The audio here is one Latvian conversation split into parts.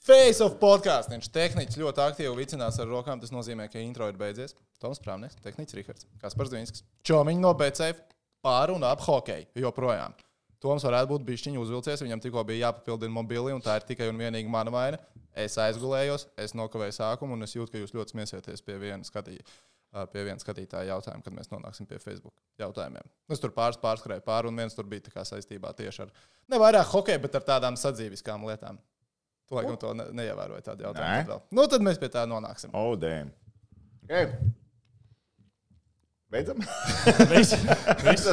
Face of podkāstu. Viņš tehniķis ļoti aktīvi vicinās ar rokām. Tas nozīmē, ka intro ir beidzies. Toms Prāvnieks, tehniķis Rihards, Kaspars Zinskis. Čomiņš no BCF pāri un ap hokeju joprojām. Toms varētu būt bišķiņš uzvilcies, viņam tikko bija jāpapildina mobili, un tā ir tikai un vienīgi mana vaina. Es aizgulējos, es nokavēju sākumu, un es jūtu, ka jūs ļoti smiesieties pie viena skatījuma. Pie viena skatītāja jautājuma, kad mēs nonāksim pie Facebook jautājumiem. Nu, Es tur pāris pārskrēju pāri, un viens tur bija tā kā saistībā tieši ar ne vairāk hokeju, bet ar tādām sadzīviskām lietām. Tu laikam to ne, neievēroji tādu Nu. Nē. jautājumu. vēl. Nu, tad mēs pie tā nonāksim. Oh, damn. Okay. Beidzam. Viss, viss.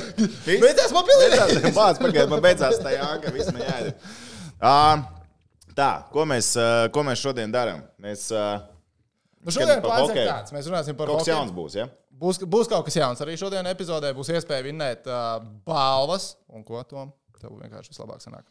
Viss? Beidzās mobilais! Beidzās, Bāc, pagaid, man beidzās tā jāga, viss man jāiet. Ah, Tā, ko mēs, ā, ko mēs šodien darām? Mēs ā, Nu, šodien Kad par plāns ir hokeju. tāds. Mēs runāsim par kaut kas hokeju. jauns būs, ja? Būs, būs kaut kas jauns. Arī šodienas epizodē būs iespēja vinnēt uh, balvas. Un ko tam? Tev vienkārši vislabāk sanāk.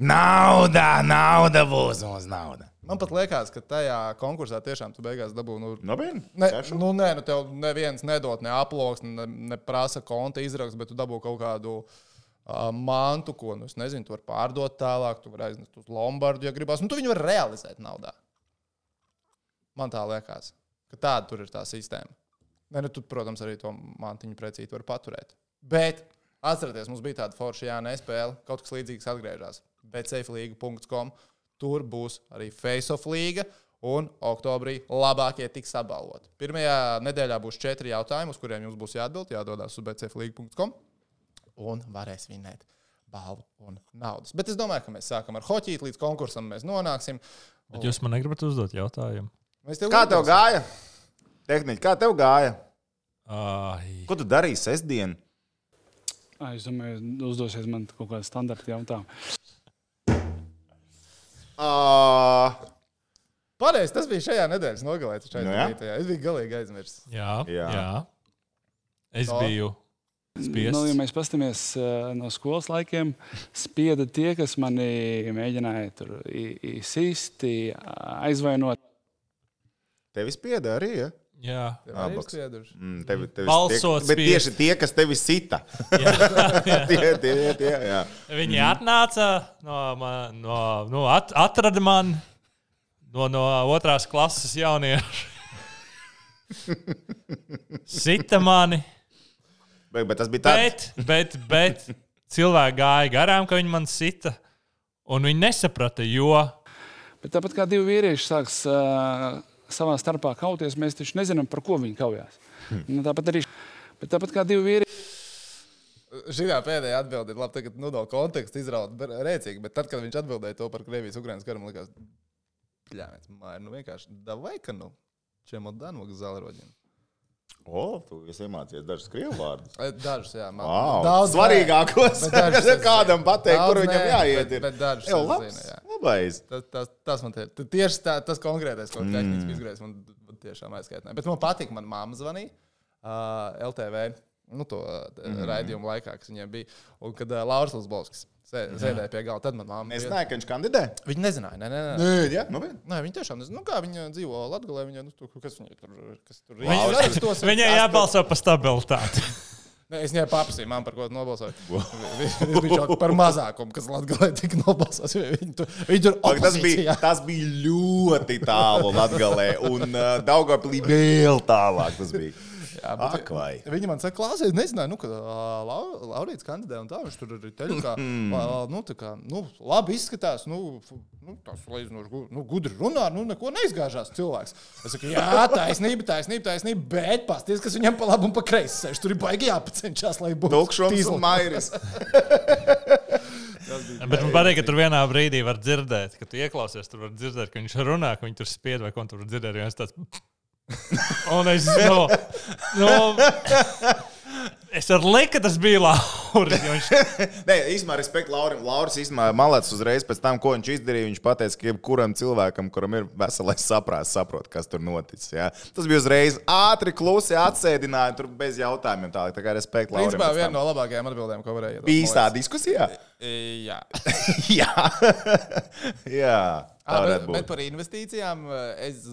Nauda, nauda būs mums nauda. Man pat liekas, ka tajā konkursā tiešām tu beigās dabūji. Nu, Nopietni? ne, Sešu? nu, nē, nu tev neviens nedod ne aploks, ne, ne prasa konta izrakstu, bet tu dabūji kaut kādu uh, mantu, ko, nu, es nezinu, tu vari pārdot tālāk, tu vari aiznest uz Lombardu, ja gribās. Nu, tu viņu var realizēt naudā. Man tā liekas, ka tāda tur ir tā sistēma. Nē, nu, tu, protams, arī to mantiņu precīzi var paturēt. Bet atcerieties, mums bija tāda forša Jāna spēle, kaut kas līdzīgs atgriežas. BCFLīga.com. Tur būs arī Face-off līga. Un oktobrī labākie tiks apbalvoti. Pirmajā nedēļā būs četri jautājumi, uz kuriem jums būs jāatbild. Jādodas uz bcflīga.com un varēs vinēt balvu un naudas. Bet es domāju, ka mēs sākam ar hoķīti, līdz konkursam mēs nonāksim. Bet jūs man negribat uzdot jautājumu. Mēs tev Kā tev uzdosim. gāja? Tehniķi, kā tev gāja? Ai, Ko tu darīji sestdien? Ai, Es domāju, uzdosies man kaut kāda standarta jautājuma. Ā, Pareizi, tas bija šajā nedēļas nogalē. taču Nu jā. aizvadītajā. Es biju galīgi aizmirsis. jā, jā. Jā. jā. Es Tā. biju spiests. Nu, ja mēs paskatāmies eh, no skolas laikiem, spieda tie, kas mani mēģināja tur i- izsist, i- aizvainot. Tevis pieda arī, ja? Jā, Tev arī ir Abaks. spieduši. Mm, Tevi, tevis Balsot tie, bet spiest. tieši tie, kas tevi sita. jā. tie, tie, tie, jā. Viņi atnāca no, ma- no, no at, atrada mani no, no otrās klases jauniešu. Sita mani, Bet, bet tas bija tāds. bet, bet, bet cilvēki gāja garām, ka viņi man sita. Un viņi nesaprata, jo Bet tāpat kā divi vīrieši sāks eh, savā starpā kauties, mēs taču nezinām, par ko viņi kaujās. Hm. Nu, tāpat arī. Bet tāpat kā divi vīrieši. Šī pēdējā atbilde ir labi. Tagad nu, no konteksta izraut ber- rēcīgi, bet tad, kad viņš atbildēja to par Krievijas-Ukrainas karu, man liekas, jā, māja, nu vienkārši davaika, nu, čemodanu zāleroģinu. O, tu esi iemācījies dažus krievu vārdus. Dažus, jā, man Wow. daudz Daudz svarīgākos. Bet dažus es- Kādam pateikt, daudz kur viņam nē, jāiet. bet- ir. bet dažus Jau, es labs, zinu, jā. labais. Tas, tas, tas man te ir. t- Tieši tā, tas konkrētais, ko tehniski mm. izgriezt, man man tiešām aizskaitināja. Bet man patīk, man māma zvanīja uh, LTV. Nu, to mm. raidījumu laikā, kas viņiem bija. Un kad uh, Lauris Lusbovskis sē- sēdēja pie galda, tad man māma. Es pie- nezināju, ka viņš kandidē. Viņa nezināja, nē, nē, nē. Nē, jā, nu vien. Nē, viņa tiešām nezina, nu, kā viņa dzīvo Latvijā. Viņa, nu, tu- kas viņa tur ir? Kas tur ir? Viņa- Viņa arī tos viņai jābalso par stabilitāti. Nē, es viņai paprasīju, man par ko tu nobalsoji. Viņš bija šok par mazākumu, kas Latvijā tika nobalsots. Viņa tur, viņa tur Ak, tas, bija, opozīcijā. tas bija ļoti tālu Latvijā. Un uh, Daugoplī vēl tālāk tas bija. Jā, bet- Ak, vai. Viņa man saka, klausies, es nezināju, nu, ka ā, Lau- Laurīts kandidē un tā, viņš tur arī teļu kā, Mm-hmm. ā, nu, tā kā, nu, labi izskatās, nu, f- nu tas līdzinoši, gu- nu, gudri runā, nu, neko neizgāžās cilvēks. Es saku, jā, taisnība, taisnība, taisnība, bet pasties, kas viņam pa labu un pa kreisi sēž, tur ir baigi jāpacenšas, lai būtu. Tukšums tīzla. un mairis. Bet man patīk, ka tur vienā brīdī var dzirdēt, ka tu ieklausies, tur var dzirdēt, ka viņš runā, ka viņš tur spied vai ko un tur var dzirdēt. viens Tāds... Un es no, no, es ar lieku, ka tas bija Lauris. jo Viņš, Nē, īstenībā respekt Laurim. Lauris īstenībā malēc uzreiz pēc tam, ko viņš izdarīja. Viņš pateica, ka jebkuram cilvēkam, kuram ir veselais saprāts, saprot, kas tur noticis. Jā. Tas bija uzreiz ātri, klusi atsēdināja, tur bez jautājumiem. Tālāk, tā kā respekt Laurim. Principā viena no labākajām atbildēm, ko varēja iedot. Bija īstā diskusijā. Jā. Jā. Jā. Tā Ah, bet, varētu bet būt. par investīcijām eh, es,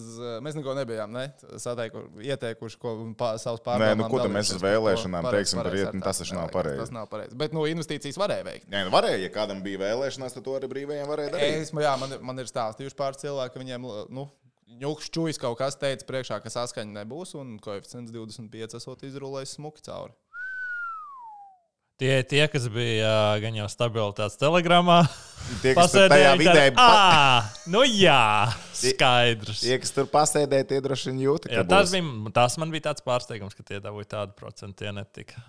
mēs neko nebijām ne? sateiku, ieteikuši, ko pā, savus pārdevumus. nu, ko tad mēs uz vēlēšanām teiksim par iet- nu, tas taču nav pareizi. Tas nav pareizi. Bet nu, investīcijas varēja veikt. Nē, nu varēja, ja kādam bija vēlēšanās, tad to arī brīvajiem varēja darīt. Es, jā, man, ir- man ir stāstījuši pāris cilvēki, ka viņiem nu, ņūkšķuvis kaut kas teica priekšā, ka saskaņa nebūs un koeficients 25 esot izrulējis smuki cauri. Tie, tie, kas bija ā, gan jau stabilitātes telegramā, Tie, kas tur tajā pasēdēja vidē, tādi, "Ā, nu jā, Tie- skaidrs. tie, kas tur pasēdēja, tie droši vien jūta, Jā, ka tas, tas bija. bija, tas man bija tāds pārsteigums, ka tie dabūja tādu procentu, tie netika.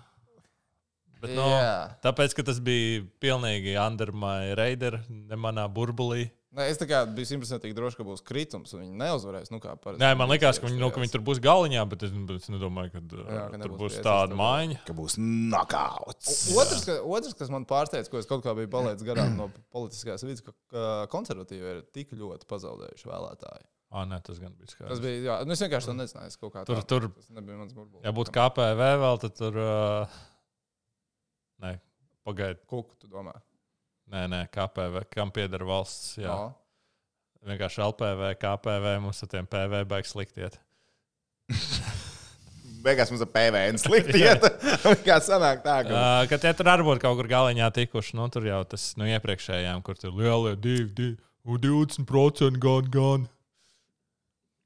Bet, no, Jā. tāpēc, ka tas bija pilnīgi undermine raider, ne manā burbulī. Nē, es tā kā biju simtprocentīgi drošs, ka būs kritums un viņi neuzvarēs. Nu, kā parasti. Nē, man liekas, ka viņi, nu, Iestājās. ka viņi tur būs galiņā, bet es, bet es nedomāju, ka, Jā, Jā, ka ka tur nebūs būs piecas tāda tagad. maiņa. Ka būs nokauts. Otrs, ka, otrs, kas man pārsteidz, ko es kaut kā biju palaidis garām no politiskās vidas, ka ka konservatīvi ir tik ļoti pazaudējuši vēlētāji. Ah, nē, tas gan bija Tas skaidrs. bija, jā, nu es vienkārši to nezināju. es Kaut kā Tur, tā, tur, tas nebija mans burbulis. ja būtu KPV vēl, tad tur. Uh, nē, pagaidi. kuku, tu domā. Nē, nē, KPV, kam pieder valsts. Jā, No. vienkārši LPV, KPV, mums ar tiem PV baigs sliktiet. Beigās mums ir PVN slikti. iet. Kā sanāk tā, ka. Uh, kad tie tur arī būtu kaut kur galiņā tikuši, nu tur jau tas nu, iepriekšējām, kur tur lielie divi, divi, un 20% gan, gan.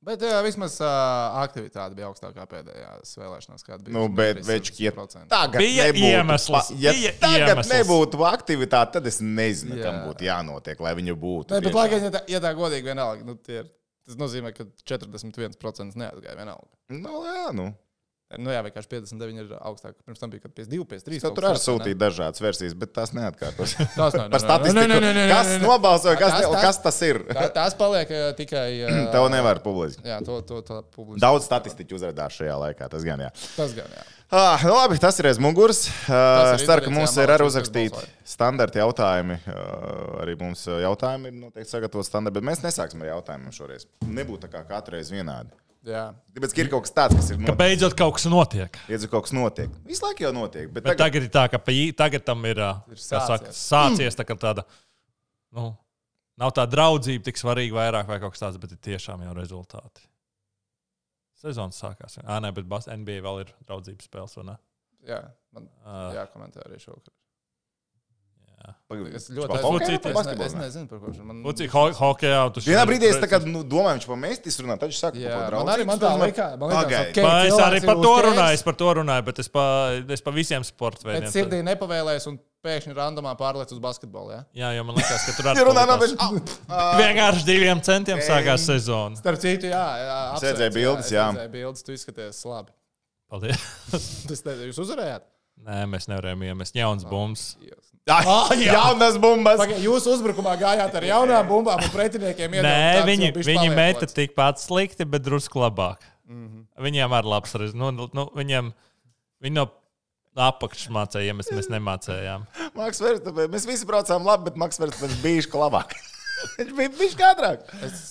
Bet jā, vismaz uh, aktivitāte bija augstākā pēdējās vēlēšanās, kāda bija. Nu, bet, večki, ja tā. tagad Bija nebūtu, iemesls, pa- ja bija tagad iemesls. nebūtu aktivitāte, tad es nezinu, Jā. jā. kam būtu jānotiek, lai viņa būtu. Nē, bet, tiešām. lai gan, ja tā, ja tā godīgi, vienalga, nu, tie ir. Tas nozīmē, ka 41% neatgāja vienalga. Nu, jā, nu. Nu, jā, vienkārši 59 ir augstāk. Pirms tam bija kaut kāds 52, 53. Tad tur arī sūtīja dažādas versijas, bet tās neatkārtos. Tas nav Par statistiku. Kas nobalsoja, kas, Tas- tas- kas tas ir? Tā, tās paliek eh, tikai. eh, Tev nevar publiski. Jā, to, to, to publiski. Daudz statistiķu uzrādās šajā laikā. Tas gan jā. Tas gan jā. Ah, nu labi, tas ir aiz muguras. Ah, ir Es ceru, izdarīts, ka mums jā, ir malas, arī kas uzrakstīti balsoja. standarta jautājumi. Ah, Arī mums ah, jautājumi ir noteikti sagatavoti standarta, bet mēs nesāksim ar jautājumiem šoreiz. Nebūtu tā kā katru reizi vienādi. jā. Tāpēc ka ir kaut kas tāds, kas ir Ka noticis. beidzot kaut kas notiek. Iedzu, kaut kas notiek. Visu laiku jau notiek. Bet, Bet tagad... tagad ir tā, ka pī- tagad tam ir, ā, Ir kā saka, sācies. sācies tā kā tāda. Nu, nav tā draudzība tik svarīga vairāk vai kaut kas tāds, bet ir tiešām jau rezultāti. Sezona sākās. Jā, nē, bet bas- NBA vēl ir draudzības spēles. vai ne? jā, man Ā, jākomentē arī šovakar. jā. tagad Es ļoti par aizmirsu. hokeju vai Fucītis. par Es, ne, basketbolu es runā? nezinu, par ko viņš man Lucija, nu, ho hokeja, tu nu, Vienā brīdī es tā kā, nu, domāju, viņš pamestīs runāt, tad viņš saka, Jā, ka man arī man tā likā. Man likās, Pagaid. okay, Pa, es cilvēks arī ir par to uz runāju, tējas, es par to runāju, bet es pa, es pa visiem sporta Bet veidiem. sirdī nepavēlēs un pēkšņi randomā pārlec uz basketbolu. Ja? Jā, jo man liekas, ka tur Ja runā, nav arī viņš. Ah, vienkārši diviem centiem sākās sezona. Starp citu, jā, jā apsveicu, redzēju bildes, jā. jā. es redzēju bildes, tu izskaties labi. Paldies. Tas te jūs uzvarējāt? Nē, mēs nevarējām iemest jaunas bumbas. Jūs. ah, jaunas bumbas! Pagaid, jūs uzbrukumā gājāt ar jaunām bumbām un pretiniekiem iedavāt Nē, tāds, viņi, jo bišķi viņi paliek meta plecs. tikpat slikti, bet drusku labāk. Mm -hmm. Viņiem arī labs arī. Nu, nu, viņiem viņi no apakšas mācīja, ja mēs, mēs nemācījām. Maks Verstapēns, mēs visi braucām labi, bet Maks Verstapēns bija īšķi labāk. Viņš bija bijis kādrāk.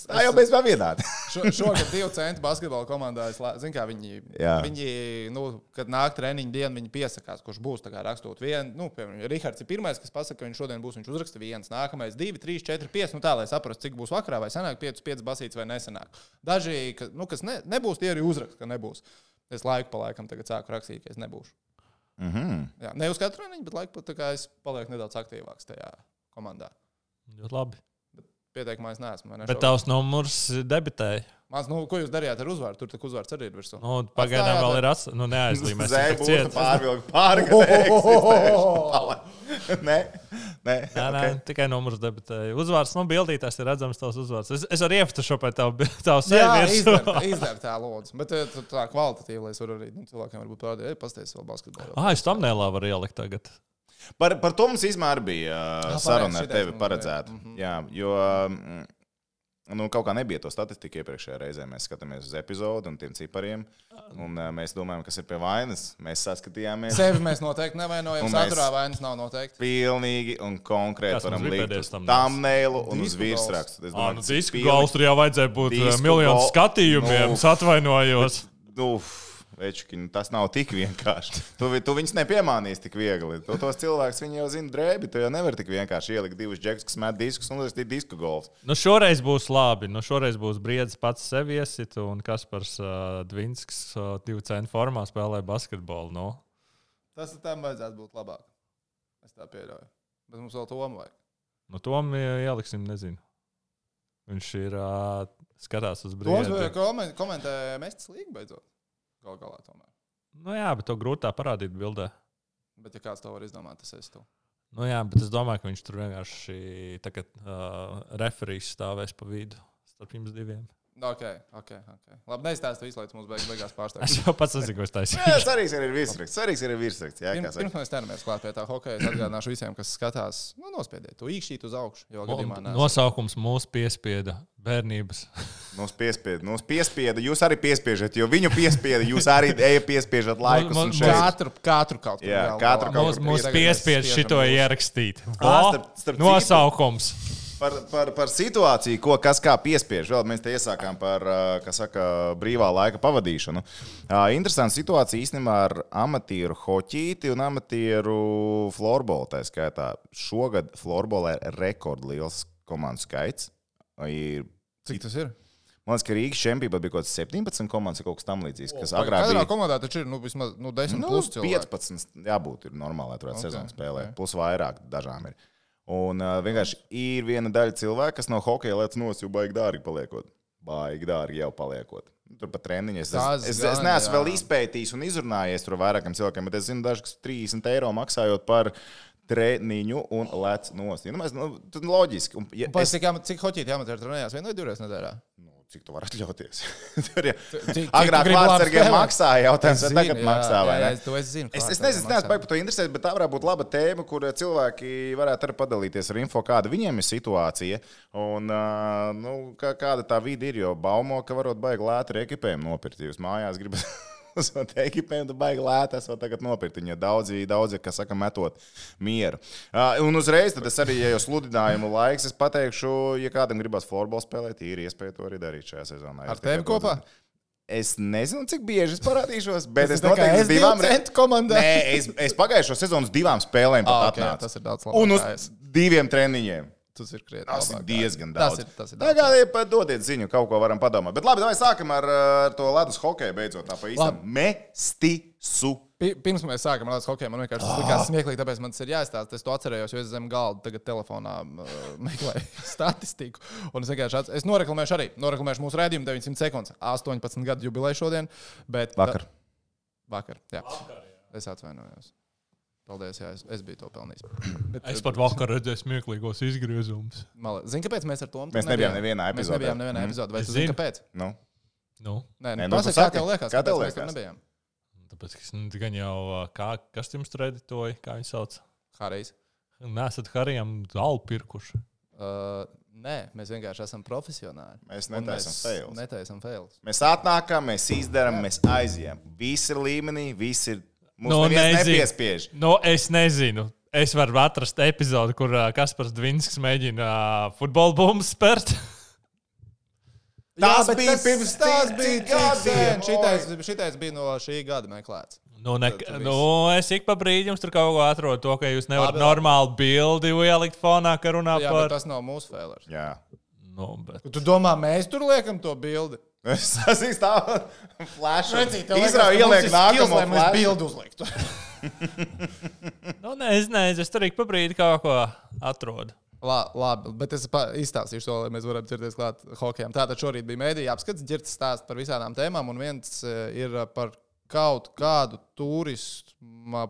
Tā jau mēs bijām vienādi. Šo, šogad divu centu basketbalu komandā, es la- zinu, kā viņi, Jā. viņi nu, kad nāk treniņu dienu, viņi piesakās, kurš būs. tā kā Rakstot vienu, nu, piemēram, Rihards ir pirmais, kas pasaka, ka viņš šodien būs. Viņš uzraksta viens, nākamais, divi, trīs, četri, pieci. Nu, tā lai saprastu, cik būs vakarā, vai senāk, pieci, pieci basīts vai nesenāk. Daži, ka, nu, kas ne, nebūs, tie arī uzraksta, ka nebūs. Es laiku pa laikam tagad sāku rakstīt, ka es nebūšu. Mm -hmm. Jā, ne uz katru treniņu, bet laiku pa tā kā es palieku nedaudz aktīvāks tajā komandā. Ļoti labi. Pieteikumā es neesmu. vai ne, Bet šogad? tavs numurs debitēja. Mans, nu, ko jūs darījāt ar uzvārdu? Tur tik uzvārds arī ir virsū. Nu, pagaidām Atstājāt, vēl vai- ir ats... nu, neaizlīmēs. Zēna būtu Ciet. pārvilkt pāri. ka neeksistējuši. Nē, nē. Nē, nē, ok. okay. tikai numurs debitēja. Uzvārds, nu, bildītājs ir redzams tavs uzvārds. Es, es arī iefotošopu tavu, tavu Jā, sēdi. izdarīt tā, lūdzu. Bet eh, tu tā kvalitatīvi, lai es varu arī nu, cilvēkiem varbūt parādīt, ej, pastāstiet vēl basketbolu. Ah, es tam nelā varu ielikt tagad. Par, par to mums īstenībā arī bija uh, pareizi, Mhm. saruna ar šitais tevi mums paredzēta. bija. Jā, jo mm, nu, kaut kā nebija to statistika iepriekšējā reizē. Mēs skatāmies uz epizodu un tiem cipariem. Un uh, mēs domājam, kas ir pie vainas. Mēs saskatījāmies Sevi mēs noteikti nevainojam. Un mēs- Saturā vainas nav noteikti. pilnīgi un konkrēti Kas mums varam bija likt pēdējais uz thumbnails? thumbnailu un uz Disku virsrakstu. Es Ah, domāju, nu, tas ir disku pilnīgi- gaustā jau vajadzēja būt Disku miljonu gal- skatījumiem. Nu. Es atvainojos. Nu, f- Večkiņi, tas nav tik vienkārši. Tu, vi- tu viņus nepiemānīsi tik viegli. Tu, tos cilvēkus viņi jau zina drēbi. Tu jau nevari tik vienkārši ielikt divus džekus, kas met diskus un uzrakstīt disku golfu. Nu, šoreiz būs labi. Nu, šoreiz būs briedis pats sev iesit, un Kaspars uh, Dvinskis uh, divu cenu formā spēlē basketbolu. Nu. Tas tam vajadzētu būt labāk. Es tā pieļauju. Bet mums vēl to vajag. Nu, Tom uh, ieliksim, nezinu. Viņš ir uh, skatās uz Toms vai brīdi. komen- komentē Mestas līgu beidzot. Gal galā tomēr. Nu, jā, bet to grūtā parādīt bildē. Bet, ja kāds to var izdomāt, tas es to. Nu, jā, bet es domāju, ka viņš tur vienkārši tagad uh, referīs stāvēs pa vidu starp jums diviem. Ok, ok. okay. Labi, neizstāstiet visu, lai tas mums beig beigās pārstāvs. Es jau pats nezinu, ko es taisīju. Jā, svarīgs ir virsraksts. Svarīgs ir virsraksts. Jā, kā Pirms, saka. pirms mēs ķeramies klāt pie tā hokeja, es atgādināšu visiem, kas skatās, nu, nospiediet to īkšķīt uz augšu. Jo, gadījumā, Mo- neesat- Nosaukums mūs piespieda bērnības. Mums piespieda, mums piespieda, nu, jūs arī piespiežat, jo viņu piespieda, jūs arī ejat piespiežat laikus. un Mums- šeit. Katru, katru kaut kur. Jā, jā, katru labāk. kaut Mums, kur mums Tagad mēs piespiež spiežam šito jūs. ierakstīt. Ā, O, starp- starp Nosaukums. Par, par, par situāciju, ko kas kā piespiež, vēl mēs te iesākām par ā, kā saka, brīvā laika pavadīšanu. Ā, Interesanta situācija īstenībā ar amatieru hoķīti un amatieru floorbola. Tā skaitā šogad floorbolā ir rekordliels komandu skaits. Ir, Cik tas ir? man liekas, ka Rīgas čempionā bija kaut kas 17 komandas, vai kaut kas tamlīdzīgs, kas agrāk Katrā bija. komandā taču ir nu, vismaz nu, 10 Nu, nu, plus cilvēku. 15. jābūt ir normālai tur okay, Ok, sezonas spēlē, ok. okay. plus vairāk dažām ir. Un uh, vienkārši ir viena daļa cilvēka, kas no hokeja lec nos, jo baigi dārgi paliekot. Baigi dārgi jau paliekot. Nu, Tur pat treniņš. Tas Es, es, es gan, neesmu jā. vēl izpētījis un izrunājies ar vairākiem cilvēkiem, bet es zinu, dažs, kas 30 eiro maksājot par treniņu un lec nos. Ja, nu, mēs, nu, tad loģiski. Un, ja, Pēc, es, cik, ama- cik hoķīti jāmatēra trenējās? Vienu vai divreiz nedēļā? nu, cik tu vari atļauties? Tur, ja. Cik- cik tu Agrāk gribi labi vārdsargiem spēlēt? maksāja jautājums, vai tagad jā, maksā vai jā, ne? jā, to es zinu. Es, kā es tagad nezinu, maksā. kāda ir tā interesēs, bet tā varētu būt laba tēma, kur eh, cilvēki varētu arī padalīties ar info, kāda viņiem ir situācija un ah, nu, kā, kāda tā vide ir. Jo baumo, ka varot baigt lēt ar ekipēm nopirkt. Ja Jūs mājās gribat uzvākt ekipēm, tad baigt lēt, es vēl tagad nopirkt. Viņa daudzi, daudzi, kas saka, metot mieru. Ah, Un uzreiz, tad es arī, ja jau sludinājumu laiks, es pateikšu, ja kādam gribas floorbola spēlēt, ir iespēja to arī darīt šajā sezonā. Ar Jūs tikai tevi dodat- kopā? Es nezinu, cik bieži es parādīšos, bet es tā kā noteikti es divām divu re- centu komandā. Nē, es, es pagājušo sezonu uz divām spēlēm Ah, ok, pat atnācu. tas ir daudz labāk. Un uz kā es. diviem treniņiem. Tas ir krietni. Tas ir labāk, jā. diezgan daudz. Tas ir, tas ir daudz. Tagad ja pat dodiet ziņu, kaut ko varam padomāt. Bet labi, lai sākam ar, uh, ar to ledus hokeju beidzot. Tā pa īstam. Labi. Mestisu. Pi- Pirms mēs sākam ar hokeju, man vienkārši tas Ah. likās smieklīgi, tāpēc man tas ir jāizstāsta. Es to atcerējos, jo es zem galda tagad telefonā uh, meklēju statistiku. Un es vienkārši atc... es noreklamēšu arī, noreklamēšu mūsu redzējumu 900 sekundes, 18 gadu jubileju šodien. Bet, Vakar. Da, vakar, jā. vakar jā. Es atvainojos. Paldies, jā, es, es biju to pelnījis. Bet, Es pat vakar redzēju smieklīgos izgriezumus. Malē, zini, kāpēc mēs ar to Mēs nebijām nevienā Mēs epizodē. nebijām nevienā Mhm. epizodē. Vai Es tu zini, zinu. kāpēc? Nu. Nu, Nē, Nē, nē, nu, nu, tu pasaka, kā saki. tev liekas, Kā kā tev tev liekas? Mēs tur liekas? nebijām. tāpēc, ka es nu, gan jau, ā, kā, kas jums tur editoja, kā viņi sauc? Harijs. Nē, esat Harijam zāli pirkuši. Uh, nē, mēs vienkārši esam profesionāli. Mēs Un netaisam fails. Netaisam fails. Mēs atnākam, mēs izdarām, mēs aizjām. Visi ir līmenī, visi ir. Mums Nu, no, neviens nezinu. nepiespiež. Nu, es nezinu. Es varu atrast epizodi, kur ā, Kaspars Dvinskis mēģina ā, futbola bumbu spērt. Tās bet bija tas- pirms tās cik- bija cik gadiem. gadiem, oi. Šitais, šitais bija no šī gada meklēts. Nu, ne, Tad viss. nu, es ik pa brīdim jums tur kaut ko atrodu, to, ka jūs nevarat Labi, labi, labi. normāli bildi ielikt fonā, ka Jā, runā bet par to. tas nav mūsu failers. Jā. Nu, bet... Tu domā, mēs tur liekam to bildi? Es esmu tāds flash. Izrauj, ieliek nākamo flashu. bildi uzliktu. nu, nē, es nezinu, es tur ik pa brīdim kaut ko atrodu. La, labi, bet es pa- izstāstīšu to, lai mēs varētu ķerties klāt hokeja. Tātad šorīt bija mēdīja apskats, ģērbts stāsts par visām tēmām, un viens eh, ir eh, par kaut kādu turismu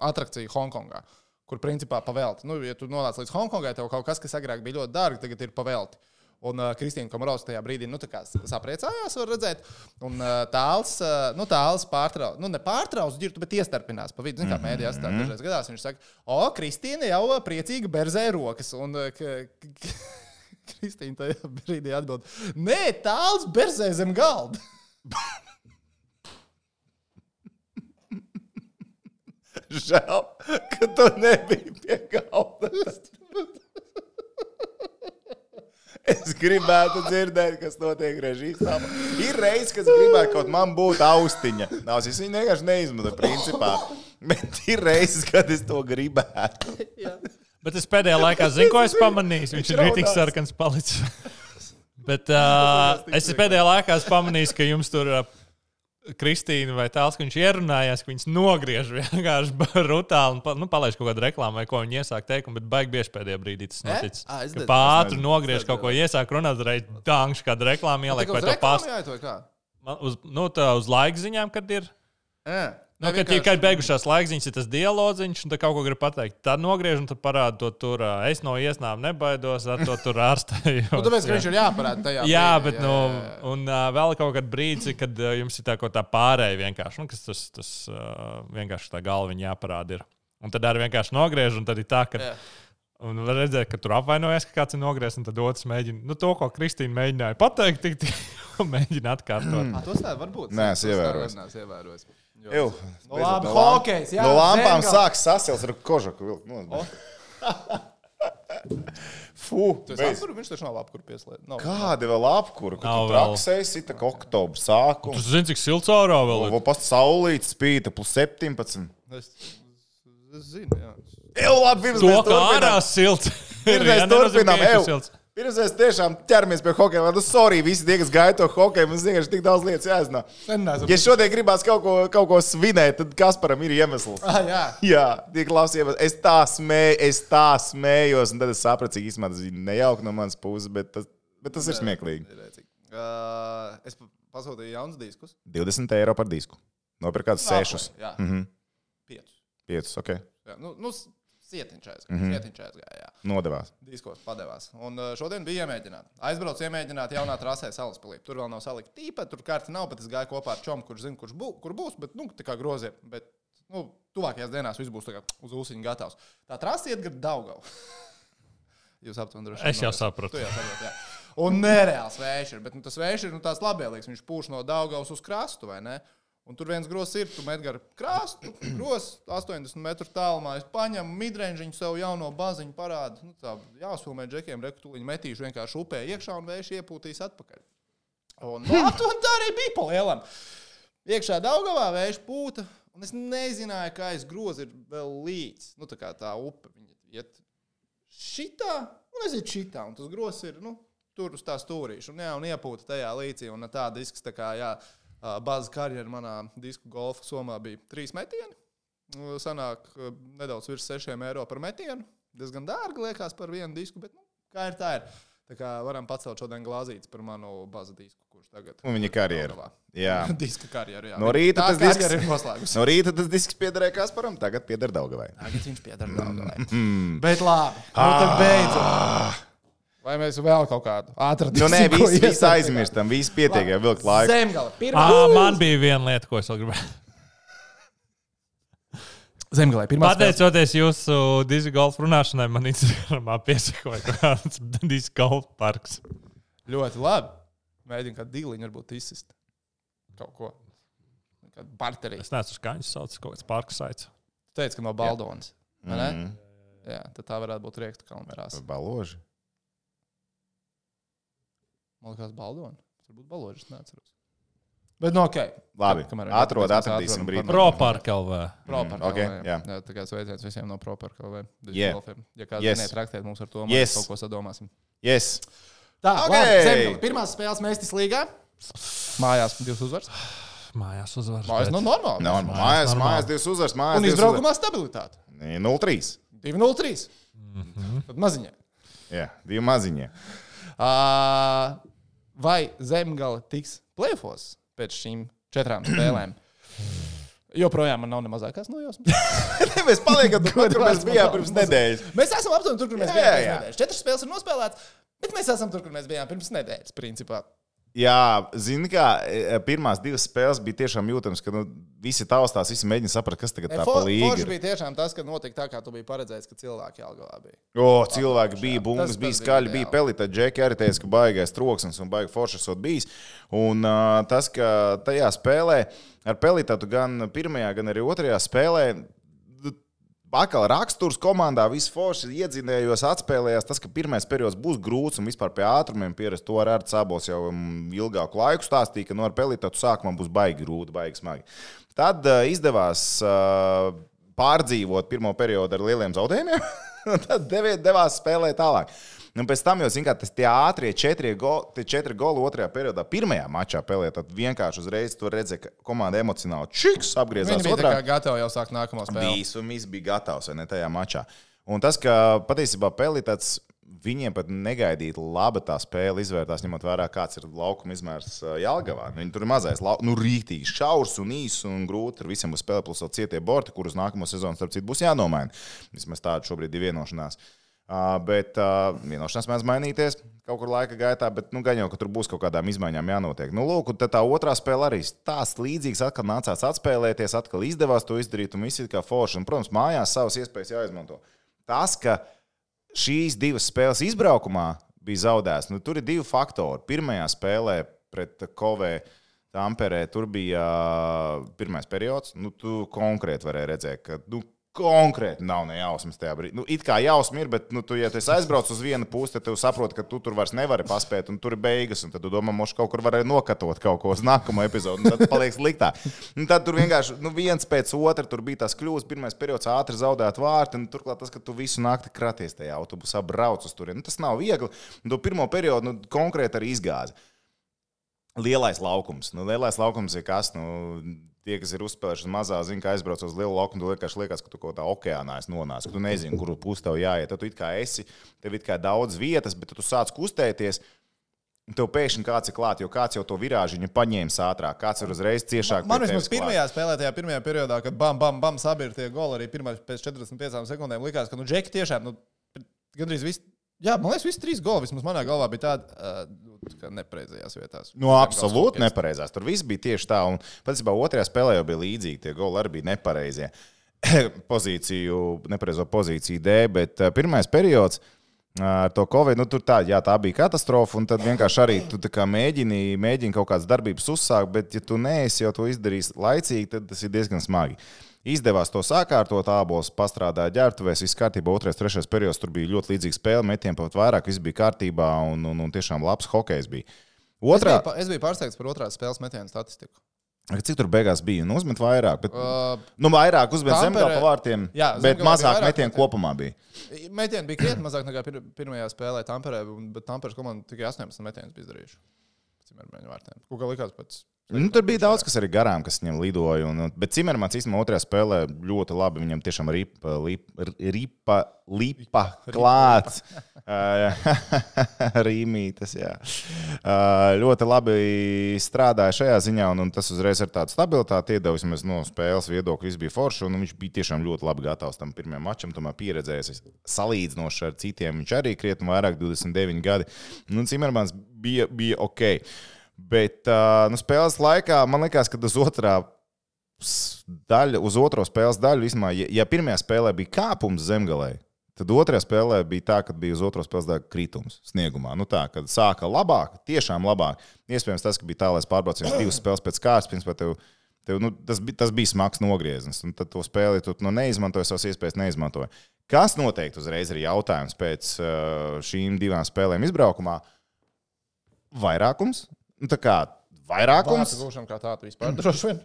atrakciju Hongkongā, kur principā pavelti. Nu, ja tu nonāc līdz Hongkongai, tev kaut kas, kas agrāk bija ļoti dārgi, tagad ir pavelti. Un uh, Kristīna Kamarovs tajā brīdī nu, tā kā s- sapriecājās, var redzēt. Un uh, tāls, uh, nu, tāls pārtrauc, nu, nepārtrauc girtu, bet iestarpinās pa vidu. Zini, kā Mhm, mēdījās tā dažreiz gadās. Viņš saka, o, Kristīna jau uh, priecīgi berzē rokas. Un, uh, k- k- Kristīna tajā brīdī atbild, nē, tāls berzē zem galda. Žēl, ka tu nebija pie galda. Es Es gribētu dzirdēt, kas notiek režīsā. Ir reizes, kad es gribētu kaut man būt austiņa. Ausis viņa vienkārši neizmanto principā. Bet ir reizes, kad es to gribētu. Bet es pēdējā laikā zinu, ko es pamanīju. Viņš ir rītīgs sarkans palicis. Bet uh, es pēdējā laikā esmu pamanījis, ka jums tur uh, Kristīna vai tāls, ka viņš ierunājās, ka viņas nogriež vienkārši brutāli un pa- nu, palaiž kaut kādu reklāmu vai ko viņa iesāk teikumu, bet baigi bieži pēdējā brīdī tas noticis. Ā, es Ka nezinu, Pātri nogriež kaut ko, iesāk runāt, reiz dāngš kādu reklāmu ieliek vai to pārstāvju. Uz, nu, tā uz laikziņām, kad ir. Nu, kad ir kad beigušās laikziņas, ir tas dialogs, un tā kaut ko grib pateikt. Tad nogriež un tad parāda to tur. ā, Es no iesnām nebaidos, ar to tur ārstēju. Nu, tāpēc, ka viņš ir jāparāda tajā. Jā, brīdī, bet nu, un, uh, vēl kaut kādā brīdī, kad uh, jums ir tā, ko tā pārējai vienkārši, nu, kas tas, tas uh, vienkārši tā galviņa jāparāda. Ir. Un tad arī vienkārši nogriež, un tad ir tā, ka. Jā. Un var redzēt, ka tur apvainojas, ka kāds ir nogriezis, un tad otrs mēģina. Nu, to, ko Kristīna mēģināja pateikt, tik tik mēģina atkārtot. Ā, tos tā varbūt. Nē, es Tos tā ievērojos. varbūt neesmu ievērojis. Jo- Jū, Nu, labi, no hokejs, jā, No lampām zengals. sāks sasilt ar kožaku. vilkt. Nu, Fū, Tu esi beidz. apkur, viņš taču nav apkur pieslēgts. Nav. kādi vēl apkuri, Nav kur vēl. traksēs, ir tā kā oktobra sākums. Tu zini, cik silts ārā vēl ir? Vēl pats saulīt spīta plus 17. Es, es zinu, jā. Jau labi, pirms To, mēs ka turpinām. ārā silts. ir, Pirmais ja nenozīmē, turpinām, ka iekšā eju. silts. Pirms mēs tiešām ķeramies pie hokeja, tad sorry, visi tie, kas gaida to hokeju, mums vienkārši tik daudz lietas jāzina. Sen neesam- Ja šodien gribās kaut ko, kaut ko svinēt, tad Kasparam ir iemesls. Ah, jā. Jā, tik labs iemesls. Es tā, smēju, es tā smējos, un tad es sapratu, cik īstenībā tas bija nejauki no manas puses, bet tas, bet tas ir smieklīgi. Ir rēcīgi. Ā, Es pa- pasūtīju jaunas diskus. 20 eiro par disku. Nopirkāt 6, Jā, mhm. piecus. 5, ok. Jā, nu, nu s- sietiņš aizgāja. Mm -hmm. Sietiņš aizgāja, jā. Nodevās. Diskos padevās. Un ā, šodien bija iemēģināt. Aizbraucu iemēģināt jaunā trasē Salaspilī. Tur vēl nav salikta tīpa, tur karti nav, bet es gāju kopā ar Čomu, kurš zina, kurš bū, kur būs, bet, nu, tā kā grozie. Bet, nu, tuvākajās dienās viss būs tā kā uz ūsuņu gatavs. Tā trasa iet gar Daugau. Jūs aptuveni droši. Es vien jau nojausat. sapratu. Tu jau saproti, jā. Un nereāls vējš ir. Bet nu, tas vējš ir nu, tāds labēlīgs. Viņš pūš no Daugaus uz krastu, vai ne? Un tur viens grozs ir, tu met garu krastu, grozs 80 metru tālumā. Es paņemu midranžiņu, sev jauno baziņu parādu. Nu, tā jāsumē džekiem, rektuliņu metīšu vienkārši upē iekšā un vējš iepūtīs atpakaļ. Un, nu, aptuveni tā arī bija palielam. Iekšā Daugavā vējš pūta, un es nezināju, kā aiz groza ir vēl līdz. Nu, tā kā tā upe viņa iet šitā, un aiziet šitā, un tas grozs ir nu, tur uz tā stūrīša, un, jā, un iepūta tajā līdzi. Un tā disks, tā kā jā, bāzes karjera manā disku golfa somā bija trīs metieni. Nu, Sanāk eh, nedaudz virs 6 eiro par metienu. Diezgan dārgi liekas par vienu disku, bet nu, kā ir tā ir. Tā kā varam pacelt šodien glāzītes par manu bāzes disku, kurš tagad Un viņa karjera. Daugavā. Jā. Diska karjeru. Jā. No rīta tā tas disks- karjera ir noslēgusies. No rīta tas disks piederēja Kasparam, tagad pieder Daugavai. Tagad viņš Mm. piedara Daugavai. Bet labi, nu Ah. tad beidzot. Vai mēs vēl kaut kādu atradīsim? Nu, nē, ko viss vis iesaistīt? aizmirstam, viss pietiek, jau vilkt laiku. Zemgala. Pirmā, Ā, Ah, Man bija viena lieta, ko es vēl gribēju. Zemgala. Pirmā Pateicoties jūsu disgolfa runāšanai, man Instagramā piesakoja kaut kāds disgolfa parks. spēle. Ļoti labi. Mēģinām kādu dīliņu varbūt izsist. Kaut ko. Kādu barteriju. Es neesmu skaņas saucis, kaut kāds parks saits. Tu teici, ka no Baldonas. vai ne? Mm. Jā, tad tā varētu būt riekta kalmerās. Baloži. Man liekas, Baldona. Varbūt Baložas neatceros. Bet nu, ok. Labi, Kamēr ir atrod, atradīsim, atradīsim atrodam. brīdi. Pro parka LV. Proper. Mm, ok, jā. jā. Tā kā sveiciens visiem no Proper. Kalvē, Yeah. Digitalfiem. Ja kāds Yes. yes. ziniet, rakstiet mums ar to, mēs Yes. yes. kaut ko sadomāsim. Yes. Tā, Ok. okay. pirmā spēles mēstis līgā. Mājās divas uzvaras. Mājās uzvaras. Mājās nu, no bet- normāli. Nav mājās, mājās divas uzvaras, mājās Un divas uzvaras. izbraukumā stabilitāte. Nē, 0-3. 2-0-3. Mhm. Tad maziņā. Jā, divi maziņi. Uh, vai zemgale tiks plēfos pēc šīm četrām spēlēm? Joprojām man nav ne mazākās nojausmas. mēs paliekam tur, kur mēs bijām pirms Mazāk. nedēļas. Mēs esam aptuveni tur, kur mēs Jā, bijām jā. pirms nedēļas. Četras spēles ir nospēlētas, bet mēs esam tur, kur mēs bijām pirms nedēļas. Principā. Jā, zini, kā e, pirmās divas spēles bija tiešām jūtams, ka nu, visi taustās, visi mēģina saprast, kas tagad Ne, tā fo- pa līgu Forši ir. bija tiešām tas, ka notika tā, kā tu biji paredzējis, ka cilvēki Jālgavā bija. O, cilvēki bija bumbiņas, Tas- bija tas bija skaļi, bija ideāli. pelīti. Džeki arī teica, ka baigais troksnis un baigais foršs esot bijis. Un uh, tas, ka tajā spēlē ar pelītātu gan pirmajā, gan arī otrajā spēlē. Bakal raksturs komandā, viss forši iedzinējos, atspēlējās. Tas, ka pirmais periods būs grūts un vispār pie ātrumiem pierast, to ar Cābos jau mm, ilgāku laiku stāstīja, ka no ar pelītātu sākumā būs baigi grūti, baigi smagi. Tad uh, izdevās uh, pārdzīvot pirmo periodu ar lieliem zaudējumiem, un tad devi- devās spēlēt tālāk. Un pēc tam jau, zināmā mērā, tie ātrie četri, go, tie četri goli otrajā periodā, pirmajā mačā spēlēja. Tad vienkārši uzreiz tur redzēja, ka komanda emocionāli čiks apgriezās. Viņi bija tā otrā- kā gatavi jau sākt nākamo spēli. bijis un viss bija gatavs vai ne, tajā mačā. Un tas, ka patiesībā Pelīts viņiem pat negaidīti laba tā spēle izvērtās, ņemot vērā, kāds ir laukuma izmērs ā, Jelgavā. Viņi tur ir mazais, lau- nu, rīktīgi šaurs un īss un grūti. Tur visiem būs spēlē, plus vēl cietie borti, kurus nākamo sezonu starp citu būs jānomaina. Vismaz tāda šobrīd ir vienošanās. Uh, bet uh, vienošanās mēdz mainīties kaut kur laika gaitā, bet nu, gan jau, ka tur būs kaut kādām izmaiņām jānotiek. Nu, lūk, un tad tā otrā spēle arī tās līdzīgas atkal nācās atspēlēties, atkal izdevās to izdarīt, un viss ir kā forši. Un, protams, mājās savas iespējas jāizmanto. Tas, ka šīs divas spēles izbraukumā bija zaudēts, nu, tur ir divi faktori. Pirmajā spēlē pret Kovē. Tamperē tur bija ā, pirmais periods. Nu, tu konkrēti varēji redzēt, ka nu, konkrēti nav ne jausmas tajā brīdī. Nu, it kā jausma ir, bet, nu, tu, ja tu esi aizbraucis uz vienu pusi, tad tu saproti, ka tu tur vairs nevari paspēt, un tur ir beigas. un Tad tu domā, moš kaut kur varēja nokatot kaut ko uz nākamo epizodu, un tad paliek sliktā. Un tad tur vienkārši nu, viens pēc otra tur bija tas kļūdas, pirmais periods ātri zaudēt vārtu, un turklāt tas, ka tu visu nakti kraties tajā autobusā, brauc uz turieni. Nu, tas nav viegli. Un to pirmo periodu nu, konkrēti arī izgāzi. Lielais laukums. Nu, lielais laukums ir kas? Nu, tie, kas ir uzspēlējuši mazā, zina, ka aizbrauc uz lielu laukumu, tur vienkārši liekas, ka tu kaut kādā okeānā esi nonācis, ka tu nezini, kuru pusi tev jāiet. Tad tu it kā esi, tev ir daudz vietas, bet tad tu sāc kustēties. un Tev pēkšņi kāds ir klāts, jo kāds jau to virāžiņu paņēma ātrāk, kāds ir uzreiz ciešāk. Man pie liekas, tevis klāt. pirmajā spēlē, tajā pirmajā periodā, kad bam, bam, bam, sabīri tie goli arī pirmā pēc 45 sekundēm, likās, ka, nu, Džeki tiešām, nu, gandrīz viss, jā, man liekas, viss trīs goli vismaz manā galvā bija tāda, uh, ka nepreizajās vietās. Nu, absolūti nepareizās. Tur viss bija tieši tā. Un patiesībā otrajā spēlē jau bija līdzīgi. Tie goli arī bija nepareizie. pozīciju, nepareizo pozīciju D, bet uh, pirmais periods. uh, Ar to Covid, nu, tur tā, jā, tā bija katastrofa. Un tad vienkārši arī tu tā kā mēģini, mēģini kaut kādas darbības uzsākt, bet, ja tu neesi jau to izdarījis laicīgi, tad tas ir diezgan smagi. Izdevās to sakārtot, abos pastrādāja ģērbtuvēs, viss kārtībā. Otrais, trešais periods tur bija ļoti līdzīga spēle, metiem pat vairāk, viss bija kārtībā un, un, un tiešām labs hokejs bija. Otrā. Otrā, Es biju, pa- es biju pārsteigts par otrās spēles metienu statistiku. Cik tur beigās bija? Nu, uzmet vairāk, bet. Uh, Uh, nu, vairāk uzmet Tampere- zemgālu pa vārtiem, jā, Jā, bet Zemgalā mazāk bija vairāk metienu metienu. kopumā bija. Mēģinājumi bija krietni mazāk nekā pir pirmajā spēlē Tamperē, un- bet Tamperes komanda tikai 18 metienus bija izdarījuši. Cimermeņu vārtiem. Kaut kā likās pēc. Nu, tur bija daudz, kas arī garām, kas viņam lidoja. Un, un- bet Cimermans īstenībā otrajā spēlē ļoti labi. Viņam tiešām ripa, lipa, ripa, lipa klāts. Rīmītas, jā. Ā, Ļoti labi strādāja šajā ziņā, un, un tas uzreiz ar tādu stabilitāti iedavis mums no spēles viedokļa. Viss bija forši, un viņš bija tiešām ļoti labi gatavs tam pirmajam mačam. Tomēr pieredzējis salīdzinoši ar citiem. Viņš arī krietni vairāk, 29 gadi. Nu, Cimermans bija, bija ok. Bet uh, nu, spēles laikā man liekas, ka uz otrā s- daļu, uz otro spēles daļu, vismā, ja, ja pirmajā spēlē bija kāpums zemgalē, tad otrajā spēlē bija tā, ka bija uz otro spēles daļu kritums sniegumā. Nu, tā, kad sāka labāk, tiešām labāk. Iespējams, tas ka bija tā, lai es pārbraucu divas spēles pēc kārtas, principā tev. Tev, nu, tas, bija, tas bija smags nogrieziens. un Tad to spēli tu nu, neizmantoji, savas iespējas neizmantoji. Kas noteikti uzreiz ir jautājums pēc uh, šīm divām spēlēm izbraukumā? Vairākums? Nu, tā kā vairākums? Vārtu gūšana kā tāda vispār. Mm, Droši vien.